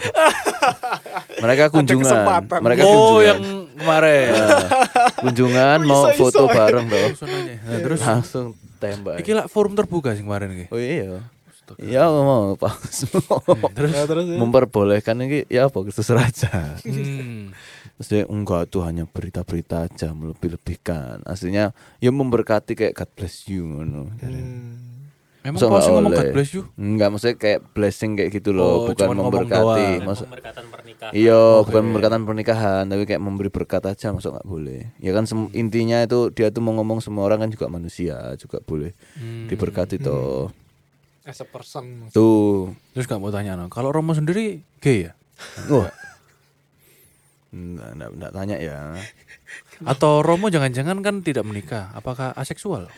B: Mereka kunjungan.
C: kesempatan.
B: Mereka
A: oh,
B: kunjungan.
A: yang kemarin.
B: Nah, kunjungan mau
C: Oh, Iso-iso
B: foto
C: aja.
B: bareng dong.
A: Nah, terus
B: langsung tembak.
A: iki lah forum terbuka sih kemarin iki.
B: Oh iya. Ya mau paus.
A: Terus
C: Nah, terus ya.
B: Memperbolehkan ini ya apa Kristus Raja.
A: hmm.
B: Terus dia, enggak itu hanya berita-berita aja melebih-lebihkan. Aslinya ya memberkati kayak God bless you ngono.
C: Hmm.
A: Memang
B: Masa
A: paus
B: nggak
A: ngomong
B: oleh?
A: God bless you.
B: Enggak, maksudnya kayak blessing kayak gitu loh,
A: Oh,
B: bukan
A: cuman ngomong
B: memberkati.
A: doang. Oh,
B: Maksud,
D: pemberkatan pernikahan
B: iya, bukan memberkatan pernikahan, tapi kayak memberi berkat aja masuk nggak boleh. Ya kan
A: Hmm.
B: sem- intinya itu dia tuh mau ngomong semua orang kan juga manusia, juga boleh
A: Hmm.
B: diberkati toh.
C: As a person.
B: Tuh.
A: Terus gak mau tanya no. Kalau Romo sendiri gay ya?
B: Wah. Nggak, nggak, nggak tanya ya.
A: Atau Romo jangan-jangan kan tidak menikah? Apakah aseksual?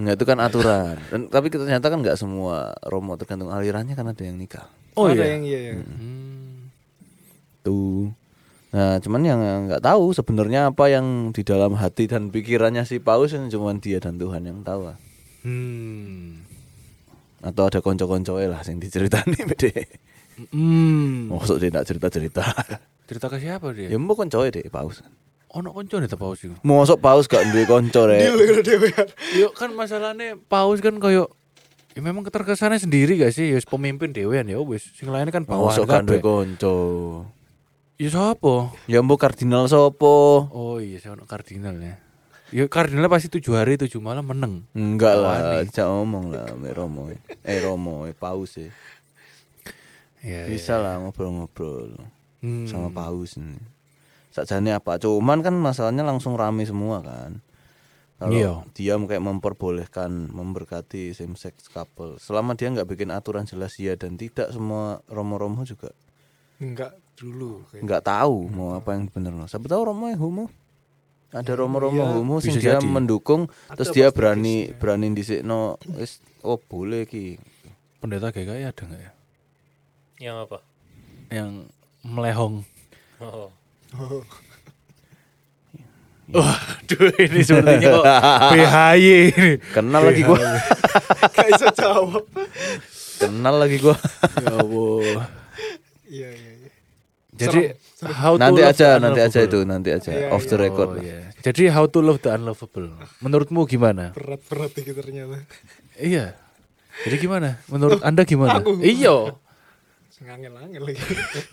B: Enggak itu kan aturan. Dan, tapi ternyata kan nggak semua romo tergantung alirannya kan ada yang nikah.
A: Oh
C: ada
A: iya.
C: yang iya, iya.
A: Hmm.
B: Tuh. Nah, cuman yang nggak tahu sebenarnya apa yang di dalam hati dan pikirannya si Paus yang cuman dia dan Tuhan yang tahu. lah.
A: Hmm.
B: Atau ada konco-koncoe lah yang diceritani bede.
A: Hmm.
B: Maksud dia nggak cerita-cerita.
A: Cerita ke siapa dia?
B: ya mau koncoe deh Paus.
A: Ono konco nih paus itu.
B: Mosok Paus gak duwe konco
C: Deal
B: rek.
C: karo dhewe.
A: Yuk kan masalahnya paus kan koyo ya memang keterkesannya sendiri gak sih? Ya wis pemimpin dewean ya wis sing lainnya kan paus
B: Mosok gak duwe konco.
A: Ya sapa?
B: Ya mbok kardinal sopo?
A: Oh iya saya ono kardinal ya. Ya kardinal pasti tujuh hari tujuh malam meneng.
B: Enggak lah, jangan ngomong lah, me Romo. Eh Romo, eh, Paus ya.
A: Ya, ya.
B: Bisa lah ngobrol-ngobrol
A: Hmm.
B: sama Paus ini. Sakjane apa? Cuman kan masalahnya langsung rame semua kan. Kalau
A: Iya.
B: dia kayak memperbolehkan memberkati same sex couple. Selama dia nggak bikin aturan jelas ya dan tidak semua romo-romo juga
C: Enggak dulu
A: Iya.
C: kayak.
B: nggak tahu mau apa yang bener loh. Siapa tahu romo yang homo? Ada romo-romo
C: iya,
B: homo sing
A: bisa
B: dia
A: jadi.
B: mendukung
C: Ada
B: terus dia
C: pasti
B: berani berani disikno wis oh boleh ki.
A: Pendeta GKI ada nggak ya?
D: Yang Ya, apa?
A: Yang melehong.
D: Oh.
C: Oh,
A: Waduh ini sepertinya kok PHY ini.
B: Kenal lagi gua.
C: gak bisa jawab.
B: Kenal lagi gua.
A: Ya Allah.
C: Iya iya iya.
A: Jadi how to
B: nanti
A: love
B: aja,
A: the
B: nanti aja
A: unlovable.
B: itu, nanti aja
C: Iya,
B: off the
A: Oh,
B: record. lah.
A: iya. Jadi how to love the unlovable. Menurutmu gimana?
C: Berat-berat iki ternyata.
A: Iya. Jadi gimana? Menurut Anda gimana? Iya.
C: Sing angel-angel lagi.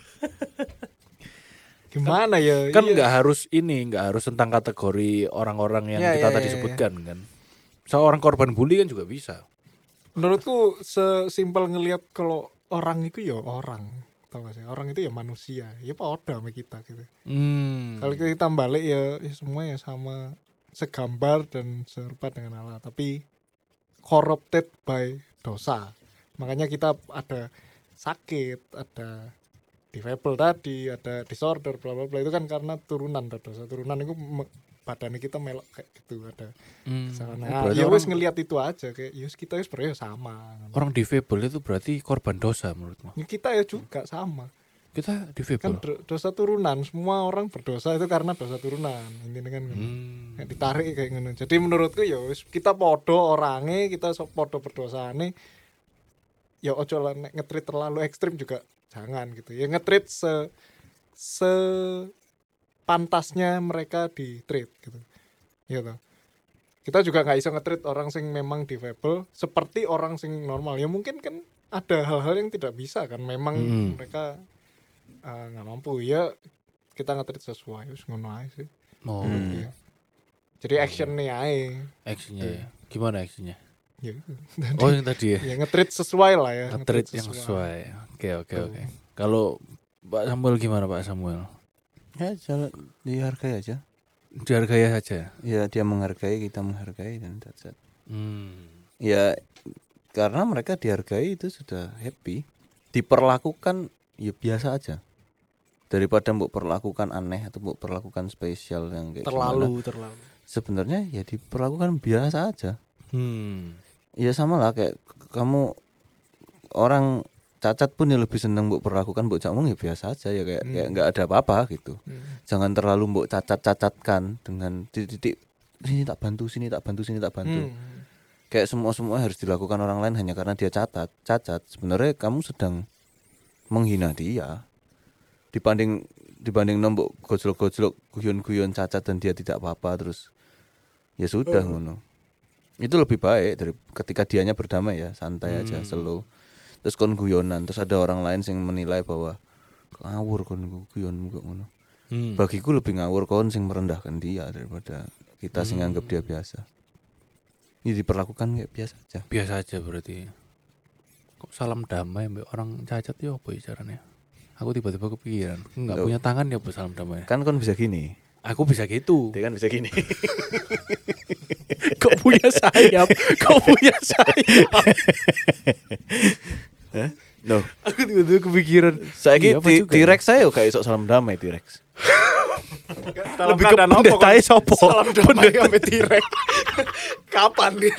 C: Gimana ya?
A: Kan
C: Iya.
A: nggak harus ini, nggak harus tentang kategori orang-orang yang
B: Iya,
A: kita
B: iya,
A: tadi
B: iya, iya.
A: sebutkan kan. Seorang korban bully kan juga bisa.
C: menurutku sesimpel ngelihat kalau orang itu ya orang tau gak sih orang itu ya manusia ya pada sama kita gitu
A: Hmm.
C: kalau kita balik ya, ya semua ya sama segambar dan serupa dengan Allah tapi corrupted by dosa makanya kita ada sakit ada difabel tadi ada disorder bla bla bla itu kan karena turunan dari dosa turunan itu me- badannya kita melok kayak gitu ada
A: Hmm. Oh,
C: kesalahan. Nah,
A: berarti
C: ya wes
A: orang,
C: ngelihat itu aja kayak ya wes kita wes sebenarnya sama
A: orang difabel itu berarti korban dosa menurutmu.
C: Ya, kita ya juga sama
A: Kita
C: kan
A: difabel.
C: do- dosa turunan semua orang berdosa itu karena dosa turunan intinya kan ngono.
A: Hmm.
C: Kayak ditarik kayak ngono jadi menurutku ya wis, kita podo orangnya kita so- podo berdosane ya ojo lah nek ngetrit terlalu ekstrim juga jangan gitu ya ngetrit se se pantasnya mereka di treat gitu ya toh. kita juga nggak bisa ngetrit orang sing memang difabel seperti orang sing normal ya mungkin kan ada hal-hal yang tidak bisa kan memang
A: Mm.
C: mereka eh, nggak mampu ya kita ngetrit sesuai wis ngono ae sih
A: Oh,
C: Iya. jadi action nih ae
A: actionnya
C: Iya.
A: ya. Gimana actionnya?
C: ya,
A: Oh yang tadi ya.
C: ya ngetrit sesuai lah ya
A: Ngetrit yang sesuai. Oke oke oke. Kalau Pak Samuel gimana Pak Samuel?
B: Ya, jalan dihargai aja.
A: Dihargai saja.
B: Ya, dia menghargai, kita menghargai dan that's it.
A: Hmm.
B: Ya, karena mereka dihargai itu sudah happy. Diperlakukan ya biasa aja. Daripada mbok perlakukan aneh atau mbok perlakukan spesial yang kayak gimana.
C: terlalu terlalu
B: Sebenarnya ya diperlakukan biasa aja.
A: Hmm.
B: Ya sama lah kayak k- kamu orang cacat pun ya lebih seneng mbok perlakukan mbok cakmung ya biasa aja ya kayak kayak nggak ada apa-apa gitu. Jangan terlalu mbok cacat-cacatkan dengan titik-titik sini tak bantu, sini tak bantu, sini tak bantu.
C: Hmm.
B: Kayak semua-semua harus dilakukan orang lain hanya karena dia catat, cacat. Sebenarnya kamu sedang menghina dia. ya. Dibanding dibanding nombok gojlok-gojlok guyon-guyon cacat dan dia tidak apa-apa terus ya sudah ngono itu lebih baik dari ketika dianya berdamai ya santai aja slow terus kon guyonan terus ada orang lain yang menilai bahwa ngawur kon gu- guyonmu kok ngono
A: Hmm.
B: bagiku lebih ngawur kon sing merendahkan dia daripada kita sing anggap dia biasa ini diperlakukan kayak biasa aja
A: Biasa aja berarti. Kok salam damai mbak orang cacat ya apa ya caranya? Aku tiba-tiba kepikiran. Enggak
B: Loh.
A: punya tangan ya apa salam damai.
B: kan kon bisa gini
A: Aku bisa gitu.
B: dia kan bisa gini
A: Kok punya sayap? Kok punya sayap?
B: no
C: aku
A: gitu kepikiran.
B: Saya
A: Iya, apa juga ya?
B: T-Rex saya kayak iso salam damai T-Rex.
C: Dalam
A: Lebih ke
C: keadaan apa kok?
A: pendetai sopo?
C: Salam damai sampai tirek. Kapan nih?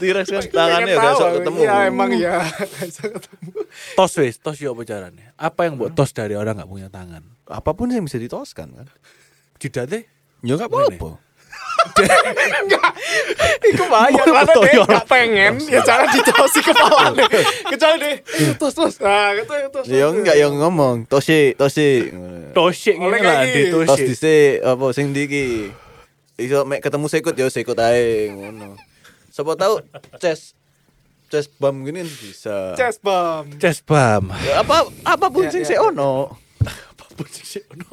B: T-Rex kan tangannya
C: Pengen
B: udah
C: tahu,
B: sok ketemu.
C: Iya emang ya. Nggak bisa
A: Hmm.
C: ketemu.
A: Tos wis, tos yo apa caranya? Apa yang buat tos dari orang nggak punya tangan?
B: Apapun yang bisa ditoskan kan.
A: Jidat deh.
B: Ya enggak apa-apa.
C: Iku bahaya karena
B: betul,
C: dia
B: ya.
C: nggak pengen ya cara ditosi kepala deh. Kecuali deh terus terus. Nah, gitu terus.
B: Ya enggak yang ngomong, tosi, tosi.
A: Tosik
C: Oleh
A: ngene lah,
C: kaki.
A: di
B: Tos
A: tosik.
B: dhisik apa sing ndi iki. Iso mek ketemu sekut ya sekut ae ngono. Siapa tahu chest chest bam gini kan bisa.
C: Chest bump.
A: Chest bam.
B: Ya, apa apapun sing sik ono.
A: Apapun sih sih, ono.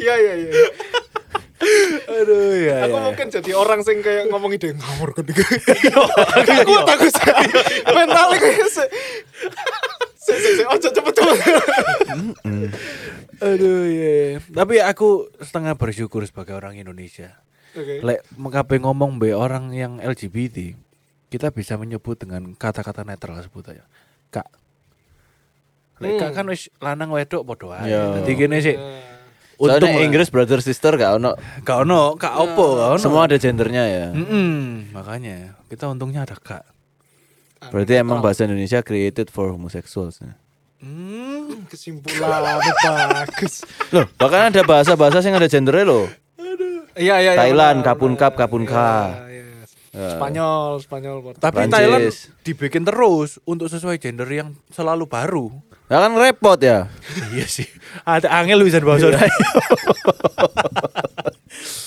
C: Iya iya iya.
A: Aduh ya.
C: Aku
A: ya.
C: mungkin jadi orang sing kayak ngomong ide ngawur kan.
A: Iya.
C: Aku aku mentalnya kayak se. Se se se. Ojo cepet cepet.
A: Aduh ya. ya. Tapi aku setengah bersyukur sebagai orang Indonesia.
C: Oke.
A: Lek mengkape ngomong be orang yang LGBT, kita bisa menyebut dengan kata-kata netral sebut aja. Kak. Lek kak kan wis lanang wedok podo ae.
B: Ya.
C: Iya.
A: Dadi kene sih.
B: Soalnya
A: Untung lah.
B: Inggris brother sister gak ono.
A: Gak ono, kak opo, gak ono.
B: Semua ada gendernya ya.
A: Mm-mm, makanya kita untungnya ada kak.
B: Berarti emang bahasa Indonesia created for homosexuals. ya.
C: Hmm, kesimpulan bagus.
B: Loh, bahkan ada bahasa-bahasa yang ada gendernya loh.
C: Iya iya. iya,
B: Thailand,
C: benar,
B: kapun
C: benar.
B: kap, kapun
C: Iya,
B: ka.
C: iya.
A: Ah.
C: Spanyol, Spanyol.
A: Tapi
B: Prancis.
A: Thailand dibikin terus untuk sesuai gender yang selalu baru.
B: Ya kan repot ya.
A: iya sih. Iya. Ada angel bisa bahasa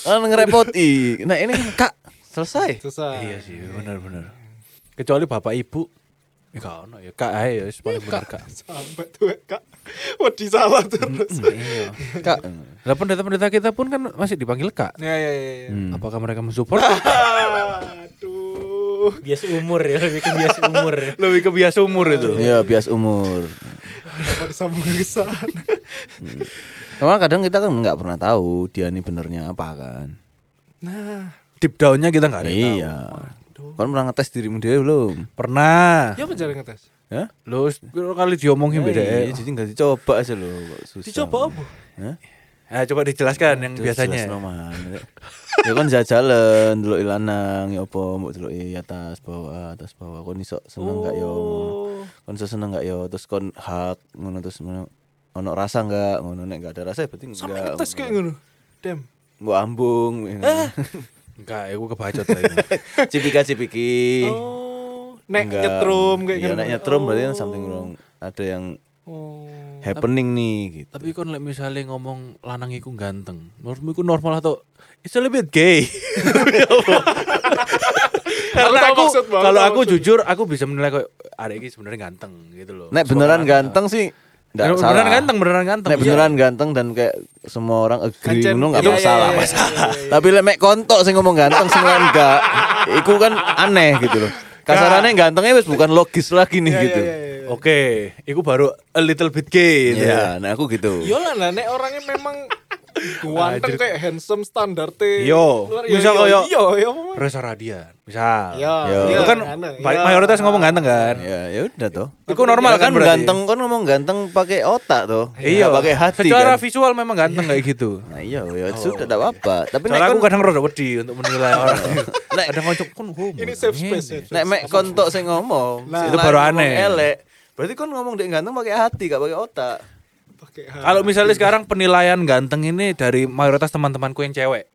B: Kan ngerepoti. Nah, ini kan, Kak selesai.
C: Susah.
A: Iya sih, benar-benar. Kecuali bapak ibu, ya gak ono ya kak ae ya wis paling bener kak.
C: Sampai tuh kak. Wedi salah terus.
A: Iya.
B: Kak.
A: Lah pendeta-pendeta kita pun kan masih dipanggil kak.
C: Ya ya ya. ya.
A: Apakah mereka mensupport?
C: Aduh.
D: bias umur ya lebih ke bias umur ya.
A: Lebih ke biasa umur itu.
B: Iya, bias umur.
C: Kenapa disambung ke sana?
B: Karena kadang kita kan nggak pernah tahu dia ini benernya apa kan.
C: Nah,
A: Deep down-nya kita nggak ada. yang tahu.
B: iya. Kan pernah ngetes dirimu dia belum?
A: Pernah.
C: ya mencari ngetes.
B: Ya?
A: Lu kali diomongin beda. eh.
B: Iya, jadi nggak dicoba aja loh. kok Susah.
D: Dicoba apa?
B: Hah?
A: Nah, coba dijelaskan yang biasanya.
B: Jelas noman. ya kan jajalan dulu ilanang ya apa mbok dulu atas bawah atas bawah kon iso seneng gak yo
C: Oh.
B: kon iso seneng gak yo terus kon hak ngono terus ngono ono rasa enggak ngono nek enggak ada rasa ya berarti
C: Sampai
B: enggak
C: ngetes kayak Eh. ngono. Dem.
B: mbok ambung
A: Enggak, aku kebacot lah ini.
B: cipika cipiki
C: Oh, nek
B: Enggak.
C: nyetrum kayak
B: Iya,
C: ngono.
B: nek nyetrum berarti kan something wrong ada yang
C: Oh.
B: happening nih gitu
A: Tapi kon lek misalnya ngomong lanang iku ganteng, menurutmu iku normal atau it's a little bit gay?
C: Aku
A: Karena
C: tahu
A: aku
C: maksud, Bang,
A: kalau
C: tahu
A: aku
C: maksud.
A: jujur aku bisa menilai kok arek iki sebenarnya ganteng gitu loh.
B: nek beneran
A: Suaranya.
B: ganteng sih enggak
A: Bener-
B: salah
A: beneran ganteng, beneran ganteng.
B: Nek beneran ganteng Iya. dan kayak semua orang agree
C: Kancen-
B: ngono enggak
C: iya, iya,
B: masalah.
C: iya, iya,
B: masalah. Tapi lek mek kontok sing ngomong ganteng sing lain enggak. Iku kan aneh gitu loh. Kasarannya gantengnya wis bukan logis lagi nih gitu.
C: Iya, iya, iya.
A: Oke, iku baru a little bit gay gitu ya.
B: Iya, nah aku gitu.
C: Yo lah, nah, nek orangnya memang ganteng kayak handsome standar
A: Yo, misal kayak-
C: yo yo.
A: Reza Radian, misal.
C: Yo,
B: Yo.
A: Itu kan
C: aneh,
A: ba-
C: yo.
A: mayoritas ngomong ganteng kan.
B: Ya, ya udah toh.
A: Iku normal
B: Ya kan
A: kan berarti?
B: ganteng kan ngomong ganteng pakai otak toh.
A: Iya,
B: Nggak pakai hati
A: Secara
B: kan.
A: visual memang ganteng kayak gitu.
B: Nah, iya, ya sudah enggak apa-apa. Tapi nek
A: Soalnya aku kan-
B: kon-
A: kadang rada wedi untuk menilai orang. Nek kadang kocok kon homo.
C: Ini safe space. ya.
A: ngene.
C: safe
B: nek
C: space.
B: mek kontok sing ngomong, sing
C: Nah.
A: Itu
B: lain
A: baru
B: ngomong
A: aneh.
B: Elek. Berarti kon ngomong dek ganteng pakai hati, gak pakai otak.
C: Pakai hati.
A: Kalau misalnya sekarang penilaian ganteng ini dari mayoritas teman-temanku yang cewek.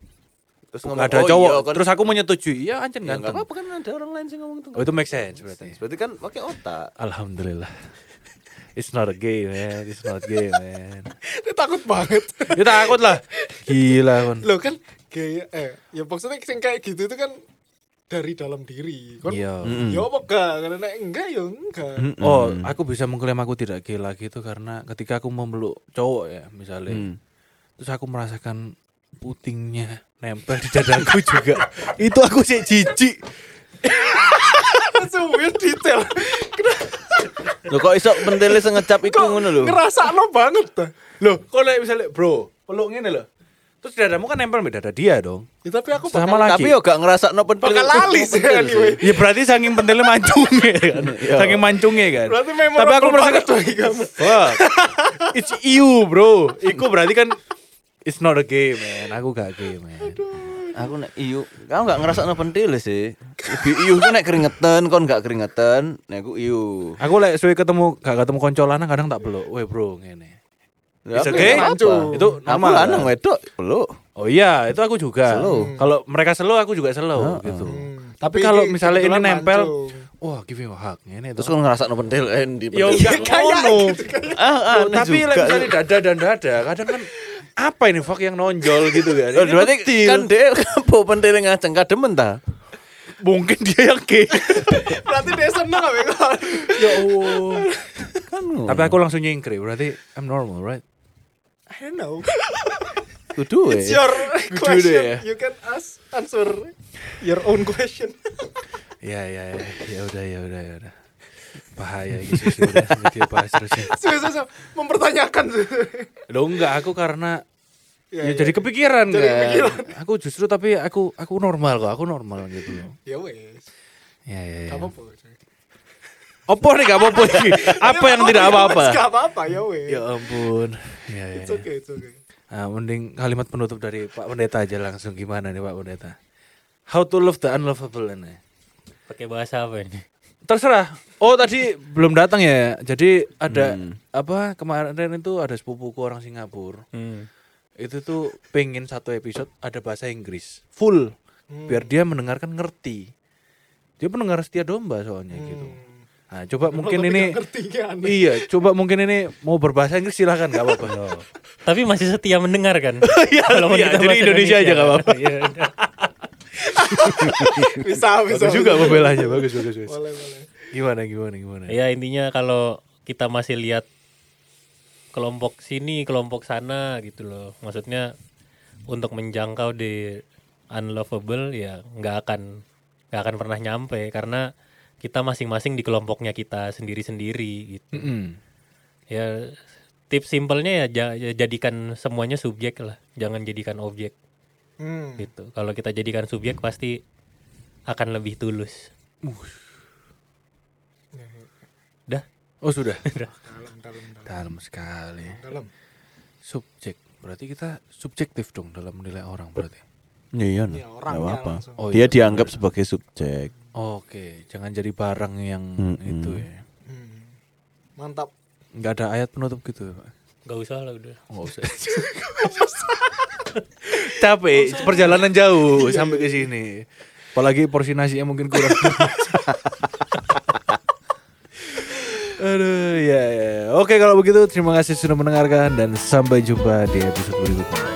B: Terus
A: Nggak ada
B: "Oh iya,
A: cowok.
B: kon-
A: Terus aku menyetujui, iya anjir
B: Ya,
A: ganteng.
B: nggak apa-apa kan ada orang lain sih ngomong tuh.
A: Oh, itu make sense berarti.
B: Berarti kan pakai otak.
A: Alhamdulillah. It's not a gay man, it's not gay man.
C: Dia takut banget.
A: Dia takut lah. Gila kon.
C: Loh kan kayak eh ya maksudnya sing kayak gitu itu kan dari dalam diri. Kon
A: Iya.
C: Ya apa enggak? Karena nek enggak ya enggak.
A: Oh, aku bisa mengklaim aku tidak gay lagi itu karena ketika aku memeluk cowok ya misalnya, terus aku merasakan putingnya nempel di dadaku juga. itu aku sih jijik.
C: That's a weird Kan detail.
B: Lo kok iso pentele sengecap iku ngono lho.
C: Ngerasa lo banget ta.
A: Loh, kok lek misalnya bro, peluk ngene loh. Terus dadamu kan nempel sama dada dia dong.
C: Ya, tapi aku
A: Sama
C: bakal-
A: lagi.
B: Tapi yo gak ngerasa no pentil.
C: Bakal lali sih,
B: pentil
C: anyway.
A: Ya berarti saking pentilnya mancungnya kan. saking mancungnya kan.
C: Iya. Berarti memorable
A: Tapi aku merasa
C: banget bagi kamu.
A: Fuck. It's you, bro. Iku berarti kan it's not a game, man. Aku gak game, man.
B: Aku nek iyu, kamu gak ngerasa no pentil sih. Lebih iyu tuh nek keringetan, kon gak keringetan, nek aku iyu.
A: Aku lek suwe ketemu gak ketemu konco lanang kadang tak peluk. Weh, bro, ngene.
B: Ya,
A: It's
B: aku
A: okay.
B: gak apa-apa.
C: Mancung.
A: Itu
B: Aku
A: normal.
B: lanang wedok, lo.
A: Oh iya, itu aku juga. Hmm.
B: Slow.
A: Kalau mereka slow, aku juga slow gitu.
C: Hmm.
A: Tapi kalau
C: ini
A: misalnya ini
C: kebetulan
A: nempel,
C: mancung.
A: wah give me a hug, ngene
B: Terus
A: itu.
B: kon ngerasa no pentil, eh di
A: Ya
B: pentil.
C: Iya,
A: enggak ngono.
C: gitu.
B: Ah, aneh
A: Tapi
B: juga.
A: lek misalnya dada dan dada, kadang kan apa ini fuck yang nonjol gitu kan.
B: Loh,
A: Ini
B: berarti
A: pentil.
B: kan dia kepo pentil ngajeng kademen ta.
A: mungkin dia yang gay.
C: Berarti dia seneng apa ya?
A: ya Allah.
B: Kan
A: Tapi aku langsung nyingkri, berarti I'm normal, right?
C: I don't know.
B: kudu
A: eh.
C: It's your
A: deh ya.
C: question. You can ask answer your own question.
A: Ya ya ya, ya udah ya udah ya udah. Bahaya gitu sih udah nanti dibahas terusnya.
C: Susah, susah. Mempertanyakan.
A: ya. Loh enggak aku karena
C: Ya,
A: ya,
C: ya.
A: jadi kepikiran
C: Jadi
A: kan.
C: kepikiran.
A: Aku justru tapi aku aku normal kok, aku normal gitu loh.
C: Ya wes.
A: Ya ya ya.
C: Gak apa-apa. cuy.
A: Opo nih gak apa-apa sih. Apa yang tidak apa-apa?
C: Gak apa-apa, ya wes.
A: Ya ampun. Ya ya.
C: It's okay, it's okay.
A: Nah, mending kalimat penutup dari Pak Pendeta aja langsung gimana nih Pak Pendeta? How to love the unlovable ini.
D: Pakai bahasa apa ini?
A: Terserah. Oh tadi belum datang ya. Jadi ada
C: Hmm.
A: apa kemarin itu ada sepupuku orang Singapura.
C: Hmm.
A: Itu tuh pengen satu episode ada bahasa Inggris full
C: Hmm.
A: biar dia mendengarkan ngerti. Dia mendengar setia domba soalnya gitu. Nah, coba mungkin ini
C: tapi nggak Hmm. ngerti, ya, aneh.
A: Iya, coba mungkin ini mau berbahasa Inggris silahkan nggak apa-apa.
D: Tapi masih setia mendengar kan?
A: Iya,
D: Walaupun
A: iya,
D: kita
A: jadi
D: bahasa
A: Indonesia aja nggak apa-apa.
D: Iya, udah.
C: Bisa, bisa.
A: bagus juga pembelanya, bagus bagus bagus.
C: Boleh, boleh.
A: Gimana gimana gimana.
D: ya intinya kalau kita masih lihat kelompok sini, kelompok sana gitu loh. Maksudnya untuk menjangkau di unlovable ya nggak akan nggak akan pernah nyampe karena kita masing-masing di kelompoknya kita sendiri-sendiri gitu.
A: Mm-mm.
D: Ya tips simpelnya ya ja- ya jadikan semuanya subjek lah, jangan jadikan objek
C: Hmm.
D: gitu. Kalau kita jadikan subjek pasti akan lebih tulus. Dah.
A: Oh sudah.
C: Dalam, dalam, dalam.
A: Dalam sekali.
C: Dalam.
A: Subjek. Berarti kita subjektif dong dalam menilai orang berarti.
B: Iya, no.
C: Ya,
B: Gak
C: orangnya
B: apa-apa.
C: langsung.
A: Oh,
B: Dia
A: iya,
B: dianggap sebagai subjek.
A: Oke, jangan jadi barang yang itu ya.
C: Hmm. Mantap.
A: Nggak ada ayat penutup gitu ya, Pak.
D: Gak usah lah udah.
A: Nggak usah. Capek, perjalanan jauh sampai ke sini. Apalagi porsi nasinya mungkin kurang. iya, Aduh, ya, ya. Oke kalau begitu terima kasih sudah mendengarkan dan sampai jumpa di episode berikutnya.